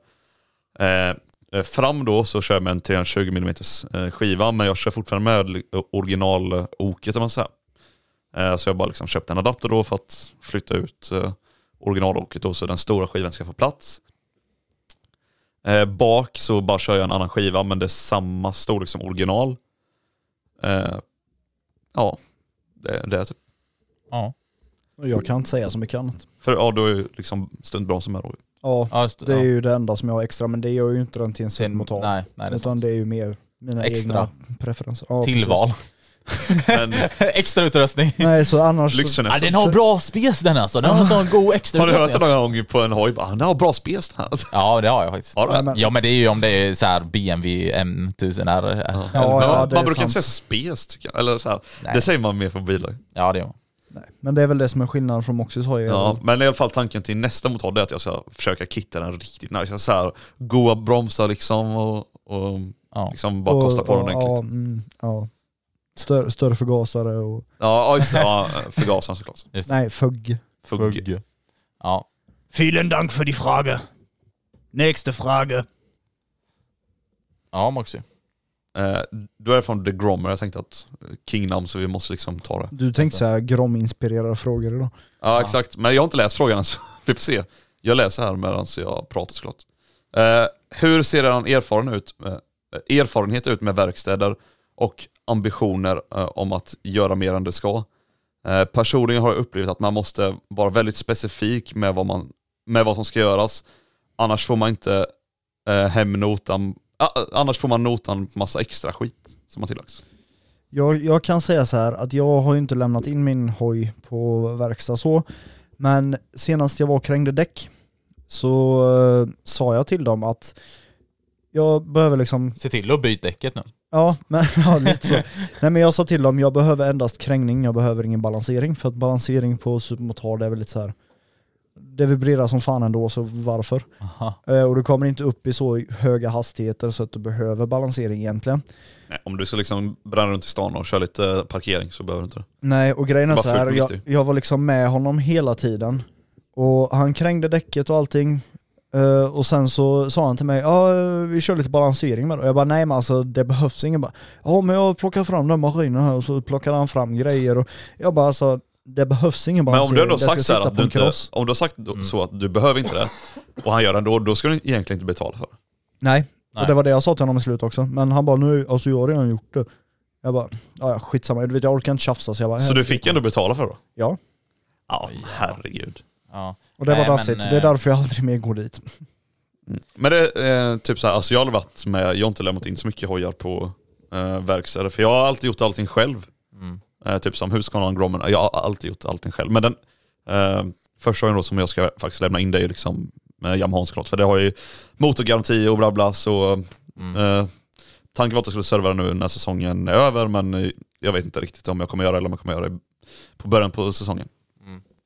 Eh, eh, fram då så kör jag med en 320 mm eh, skiva, men jag kör fortfarande med li- originaloket om man säger. Eh, så jag bara liksom köpt en adapter då för att flytta ut eh, originaloket då så den stora skivan ska få plats. Eh, bak så bara kör jag en annan skiva men det är samma storlek som original. Eh, ja, det, det är typ. Ja. Och Jag kan inte säga så mycket annat. För ja, då är ju liksom stuntbromsen med då. Ja, Ja, just det är ja. ju det enda som jag har extra, men det gör ju inte den till en Till- supermotard. nej, nej, det är Utan det är ju mer mina Extra. egna preferenser. Ja, precis. Tillval. Men extra utrustning. Nej, så annars... Ja, lyxfinessen. den har bra spes den alltså. Den har en sån god extra Har du hört det utrustning, någon gång på en hoj? Bara, Han har bra spes den här. Ja, det har jag faktiskt. Har du det? Ja men det är ju om det är så här BMW M1000R. Ja, Ja, ja, det är man brukar inte säga sant. spes tycker jag. Eller så här. Nej. Det säger man mer för bilar. ja det gör man. Men det är väl det som är skillnaden från Moxys hoj. Ja, men i alla fall tanken till nästa motor det är att jag ska försöka kitta den riktigt nice. Jag ska Så här, goa bromsar liksom och, och Ja. liksom bara kosta på den Ja, ordentligt. mm, ja. Större, större förgasare och... Ja, ja, just det. Ja, förgasaren såklart. Just det. Nej, fugg. Fugg. Ja. Vielen Dank für die Frage. Nächste Frage. ja, Moxie. Eh, då är det från The Grommer, jag tänkte att eh, Kingnamn så vi måste liksom ta det. Du Alltså. tänkte säga Grom-inspirerade frågor idag. Ja exakt, men jag har inte läst frågan än så vi får se. Jag läser här medan jag pratar såklart. Eh, hur ser er erfaren ut, eh, erfarenhet ut med verkstäder och ambitioner eh, om att göra mer än det ska? Eh, personligen har jag upplevt att man måste vara väldigt specifik med vad, man, med vad som ska göras. Annars får man inte eh, hem notan, ah, annars får man notan på massa extra skit som har tillagts. Jag, jag kan säga så här att jag har ju inte lämnat in min hoj på verkstad så, men senast jag var och krängde däck så eh, sa jag till dem att jag behöver liksom, Se till att byta däcket nu. ja men ja, lite så. Nej men jag sa till dem, jag behöver endast krängning, jag behöver ingen balansering för att balansering på supermotard är väl lite så här. det vibrerar som fan ändå så varför? Aha. Eh, Och du kommer inte upp i så höga hastigheter så att du behöver balansering egentligen. Nej, om du ska liksom bränna runt i stan och köra lite parkering så behöver du inte det. Nej, och grejen är Bara så här, fullt jag, riktigt. jag var liksom med honom hela tiden. Och han krängde däcket och allting. Eh, och sen så sa han till mig, ja vi kör lite balansering med det. Och jag bara, nej men alltså det behövs ingen. ba- Ja men jag plockar fram den maskinen här och så plockade han fram grejer. Och jag bara, alltså det behövs ingen Men om balansering. du ändå Det ska sagt så här sitta att på du en Mm. inte, kross. om du har sagt då- så att du behöver inte det och han gör det ändå, då ska du egentligen inte betala för det. Nej. Nej. och det var det jag sa till honom i slut också. Men han bara, nu, alltså jag har redan gjort det. Jag bara, ja ja, skitsamma, du vet jag orkar inte tjafsa så jag bara, Så "Här." du fick ändå betala för det då? Ja. Ja, herregud. Ja. Och det Nej, var dassigt, men, det är eh, därför jag aldrig mer går dit. Men det är eh, typ så här, alltså jag har aldrig varit med, jag har inte lämnat in så mycket hojar på eh, verkstäder, för jag har alltid gjort allting själv. Mm. Eh, typ som Husqvarna och Grommen, jag har alltid gjort allting själv. Men den, eh, Första gången då som jag ska faktiskt lämna in det är ju liksom eh, Yamaha såklart, för det har ju motorgaranti och bla bla så eh, tanken var att jag skulle serva det nu när säsongen är över men eh, jag vet inte riktigt om jag kommer göra det eller om jag kommer göra det på början på säsongen.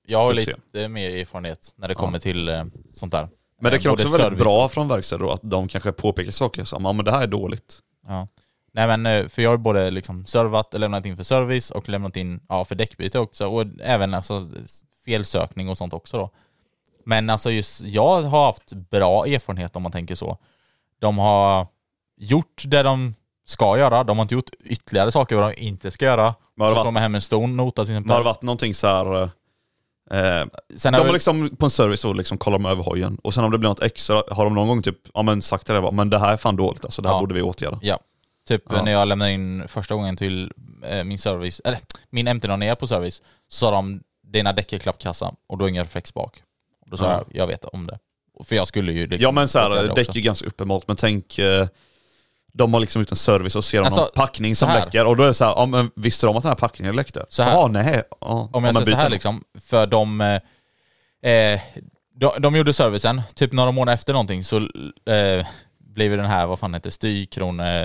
Jag har Så vi får se. lite mer erfarenhet när det kommer till eh, sånt där. Men det Eh, kan både också vara väldigt service bra från verkstäder då, att de kanske påpekar saker som ja men det här är dåligt. Ja. Nej men eh, för jag har både liksom servat, lämnat in för service och lämnat in ja, för däckbyte också och även alltså felsökning och sånt också då. Men alltså just jag har haft bra erfarenhet om man tänker så. De har gjort det de ska göra, de har inte gjort ytterligare saker vad de inte ska göra. Men har det så varit- kommer hem en stor nota till exempel. Men har det varit någonting så här... eh, Eh, Sen de har har vi- liksom på en service och liksom kollar de över hojen. Och sen om det blir något extra, har de någon gång typ, ja men sagt det där bara, men det här är fan dåligt alltså, det här Ja. borde vi åtgärda. Ja. Typ Ja. när jag lämnade in första gången till eh, min service, eller min MT när jag är på service, så sa de dina däck är klappkassa och du har ingen reflex bak. Och då sa Ja. jag, jag vet om det. För jag skulle ju liksom ja men så åtgärda det här, däck också. är ju ganska uppenbart, men tänk, eh, de har liksom gjort en service och ser om Alltså, någon packning som så här. läcker. Och då är det så här, ja men visste de att den här packningen läckte? Så här. Ja, nej. Ja, Om ja, jag men säger så byt här den. liksom, för de, eh, eh, de, de gjorde servicen, typ några månader efter någonting så eh, blev ju den här, vad fan heter det,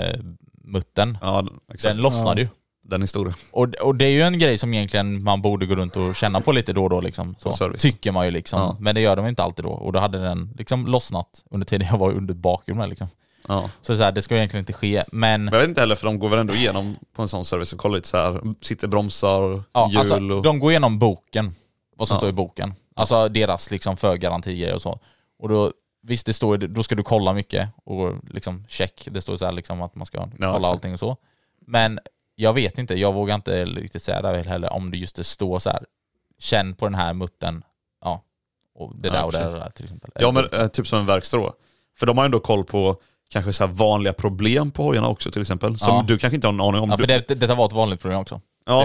styrkronemuttern. Ja, den lossnade ju. Den är stor. Och, och det är ju en grej som egentligen man borde gå runt och känna på lite då och då liksom. Som Så, service. tycker man ju liksom. Ja. Men det gör de inte alltid då. Och då hade den liksom lossnat under tiden jag var under bakhjulen liksom. Ja. Så, så här, det ska ju egentligen inte ske. Men Men jag vet inte heller, för de går väl ändå igenom på en sån service och kollar lite så här, sitter bromsar, ja, hjul alltså, och... de går igenom boken. Vad som Ja. står i boken. Alltså deras liksom förgarantier och så. Och då, visst det står, då ska du kolla mycket och liksom check. Det står så här liksom att man ska kolla exakt. allting och så. Men jag vet inte, jag vågar inte riktigt säga det här heller om det just det står så här. Känn på den här muttern. Ja. Och det Ja, där och det där, precis. och det där till exempel. Ja men eh, typ som en verkstad då. För de har ju ändå koll på kanske så här vanliga problem på hojarna också till exempel. Som Ja. du kanske inte har en aning om. ja, Du- för det, detta var ett vanligt problem också. Ja.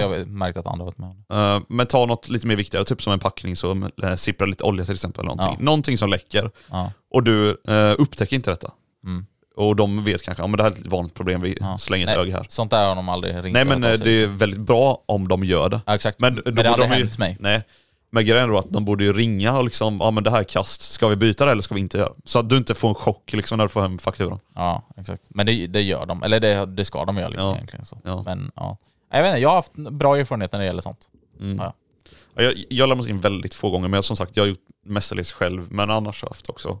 Ja. Jag har märkt att andra varit med om det. Eh, men ta något lite mer viktigare, typ som en packning som eh, sipprar lite olja till exempel. Någonting, Ja. någonting som läcker. Ja. Och du eh, upptäcker inte detta. Mm. Och de vet kanske, ja men det här är ett litet vanligt problem, vi Ja. slänger ett Nej, öga här. Sånt där har de aldrig ringt Nej och men hört av eh, sig. det är väldigt bra om de gör det. Ja, exakt. Men, Men, då det har borde aldrig de ju- hänt mig. Nej. Men grejen är då att de borde ju ringa och liksom, ja men det här är kast, ska vi byta det eller ska vi inte göra? Så att du inte får en chock liksom när du får hem fakturan. Ja, exakt. Men det, det gör de. Eller det, det ska de göra liksom, Ja. egentligen. Så. Ja. Men ja. Jag vet inte, jag har haft bra erfarenhet när det gäller sånt. Mm. Ja. Ja, Jag, jag har lämnat in väldigt få gånger, men jag, som sagt jag har gjort mestadels själv, men annars har jag haft också.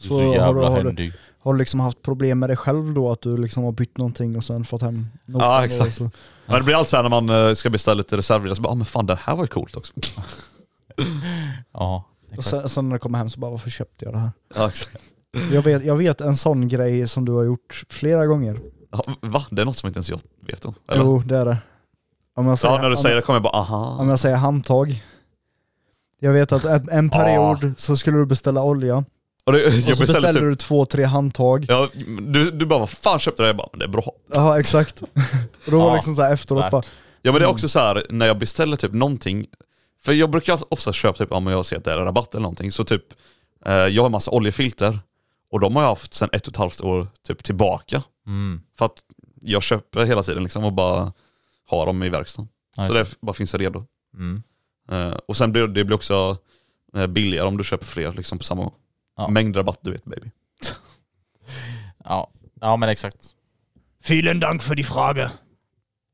Du är Så har du- har du- händig. Har du liksom haft problem med dig själv då? Att du liksom har bytt någonting och sen fått hem notan? Ja, då, exakt. så- Men det blir alltid så här när man eh, ska beställa lite reservdelar, så bara ah, men fan det här var ju coolt också. Ja, Och exakt. sen, sen när jag kommer hem så bara, varför köpte jag det här? ja, exakt. Jag vet, jag vet en sån grej som du har gjort flera gånger. Ja, va? Det är något som inte ens jag vet om? Eller? Jo, det är det. Om jag säger, ja, när du om, säger det kommer jag bara om aha. jag säger handtag. Jag vet att en, en period så skulle du beställa olja, Och det, och jag så beställde beställde typ, du två, tre handtag. ja, du, du bara vad fan köpte du det? Jag bara men det är bra. Ja, exakt. Och då var Ja, det liksom så här efteråt värt. bara, Ja men det är också så här när jag beställer typ någonting, för jag brukar ofta köpa typ, om jag ser att det är rabatt eller någonting, så typ eh, jag har massa oljefilter och de har jag haft sedan ett och ett halvt år typ tillbaka. Mm. För att jag köper hela tiden liksom och bara har dem i verkstaden. Ja, så det bara finns redo. Mm. Eh, och sen blir det blir också eh, billigare om du köper fler liksom på samma gång. Ja. Mängd rabatt du vet baby. Ja. ja, men exakt. Vielen Dank für die Frage.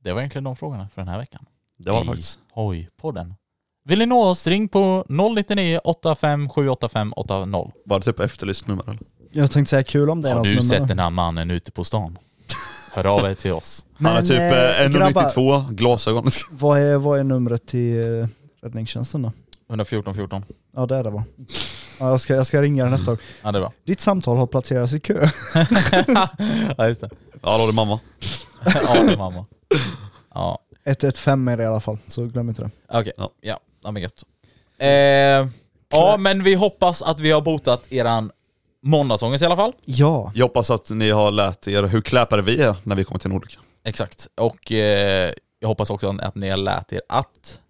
Det var egentligen de frågorna för den här veckan. Det var det I faktiskt. Hoj-podden. Vill ni nå oss, ring på 099 85 785 80. Var det typ efterlyst nummer eller? jag tänkte säga kul om det alltså, är Har hans du nummer. sett den här mannen ute på stan? Hör av er till oss. Han är Men, typ eh, eh, grabbar, 1,92, glasögon. Vad är, vad är numret till eh, räddningstjänsten då? 114 14. Ja det är det va? Ja, jag, ska, jag ska ringa nästa gång. Ja, det är bra. Ditt samtal har placerats i kö. ja, just det. Ja, då är det mamma. Ja, det är mamma. Ja. 115 är det i alla fall, så glöm inte det. Okej, Ja. ja. ja. men gött. Eh, ja, men vi hoppas att vi har botat eran måndagsångest i alla fall. Ja, Jag hoppas att ni har lärt er hur kläpare vi är när vi kommer till en olycka. Exakt. Och eh, jag hoppas också att ni har lärt er att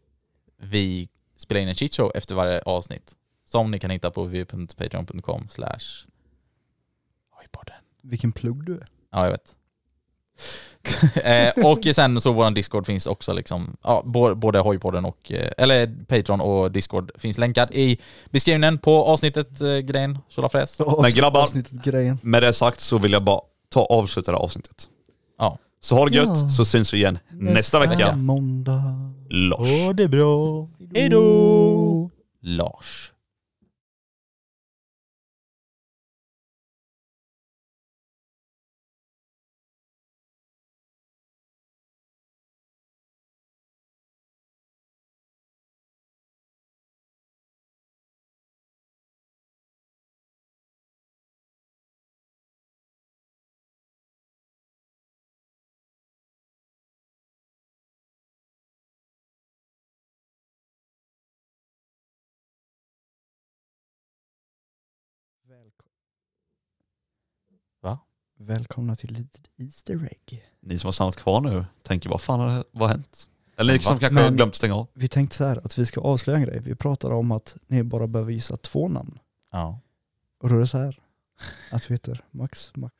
vi spelar in en cheatshow efter varje avsnitt. Som ni kan hitta på www.patreon.com slash vilken plugg du är. Ja, jag vet. eh, och sen så våran Discord finns också liksom, ja, bo- både Hojpodden och, eh, eller Patreon och Discord finns länkad i beskrivningen på avsnittet eh, grejen, Solafräs. Men grabbar, grejen. med det sagt så vill jag bara ta och avsluta det här avsnittet. Ja. Så ha det gött, Ja. så syns vi igen nästa, vecka. måndag. Lars. Ha det bra. Hejdå! Lars. Välkomna till litet Easter egg. Ni som har stannat kvar nu tänker vad fan har, vad har hänt? Eller ni Va? som kanske har Men- glömt stänga av. Vi tänkte så här att vi ska avslöja en grej. Vi pratade om att ni bara behöver gissa två namn. Ja. Och då är det så här att vi heter Max, Max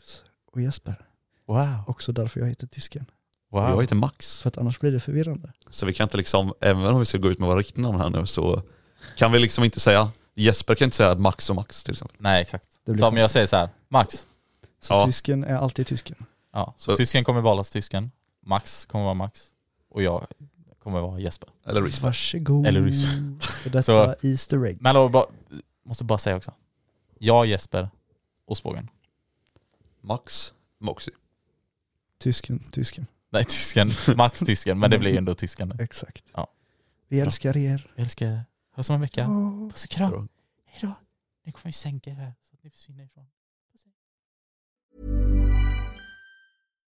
och Jesper. Wow. Också därför jag heter tysken. Wow. Jag heter Max. För att annars blir det förvirrande. Så vi kan inte liksom, även om vi ska gå ut med våra riktiga namn här nu så kan vi liksom inte säga, Jesper kan inte säga Max och Max till exempel. Nej exakt. Det Som blir jag konstigt. säger så här, Max. Så tysken är alltid tysken. Ja. Så. Tysken kommer vara tysken, Max kommer vara Max och jag kommer vara Jesper. Eller Varsågod. Eller Risper. För detta Så- Easter egg. Men hallå, bara, måste bara säga också. Jag, Jesper, Ostbågen. Max, Moxie. Tysken, tysken. Nej tysken, Max tysken, men det blir ju ändå tysken. Exakt. Ja. Vi älskar er. Jag älskar er. Hörs om en vecka. Åh. Puss och kram. Hejdå. Nu kommer vi sänka er här så att ni försvinner ifrån.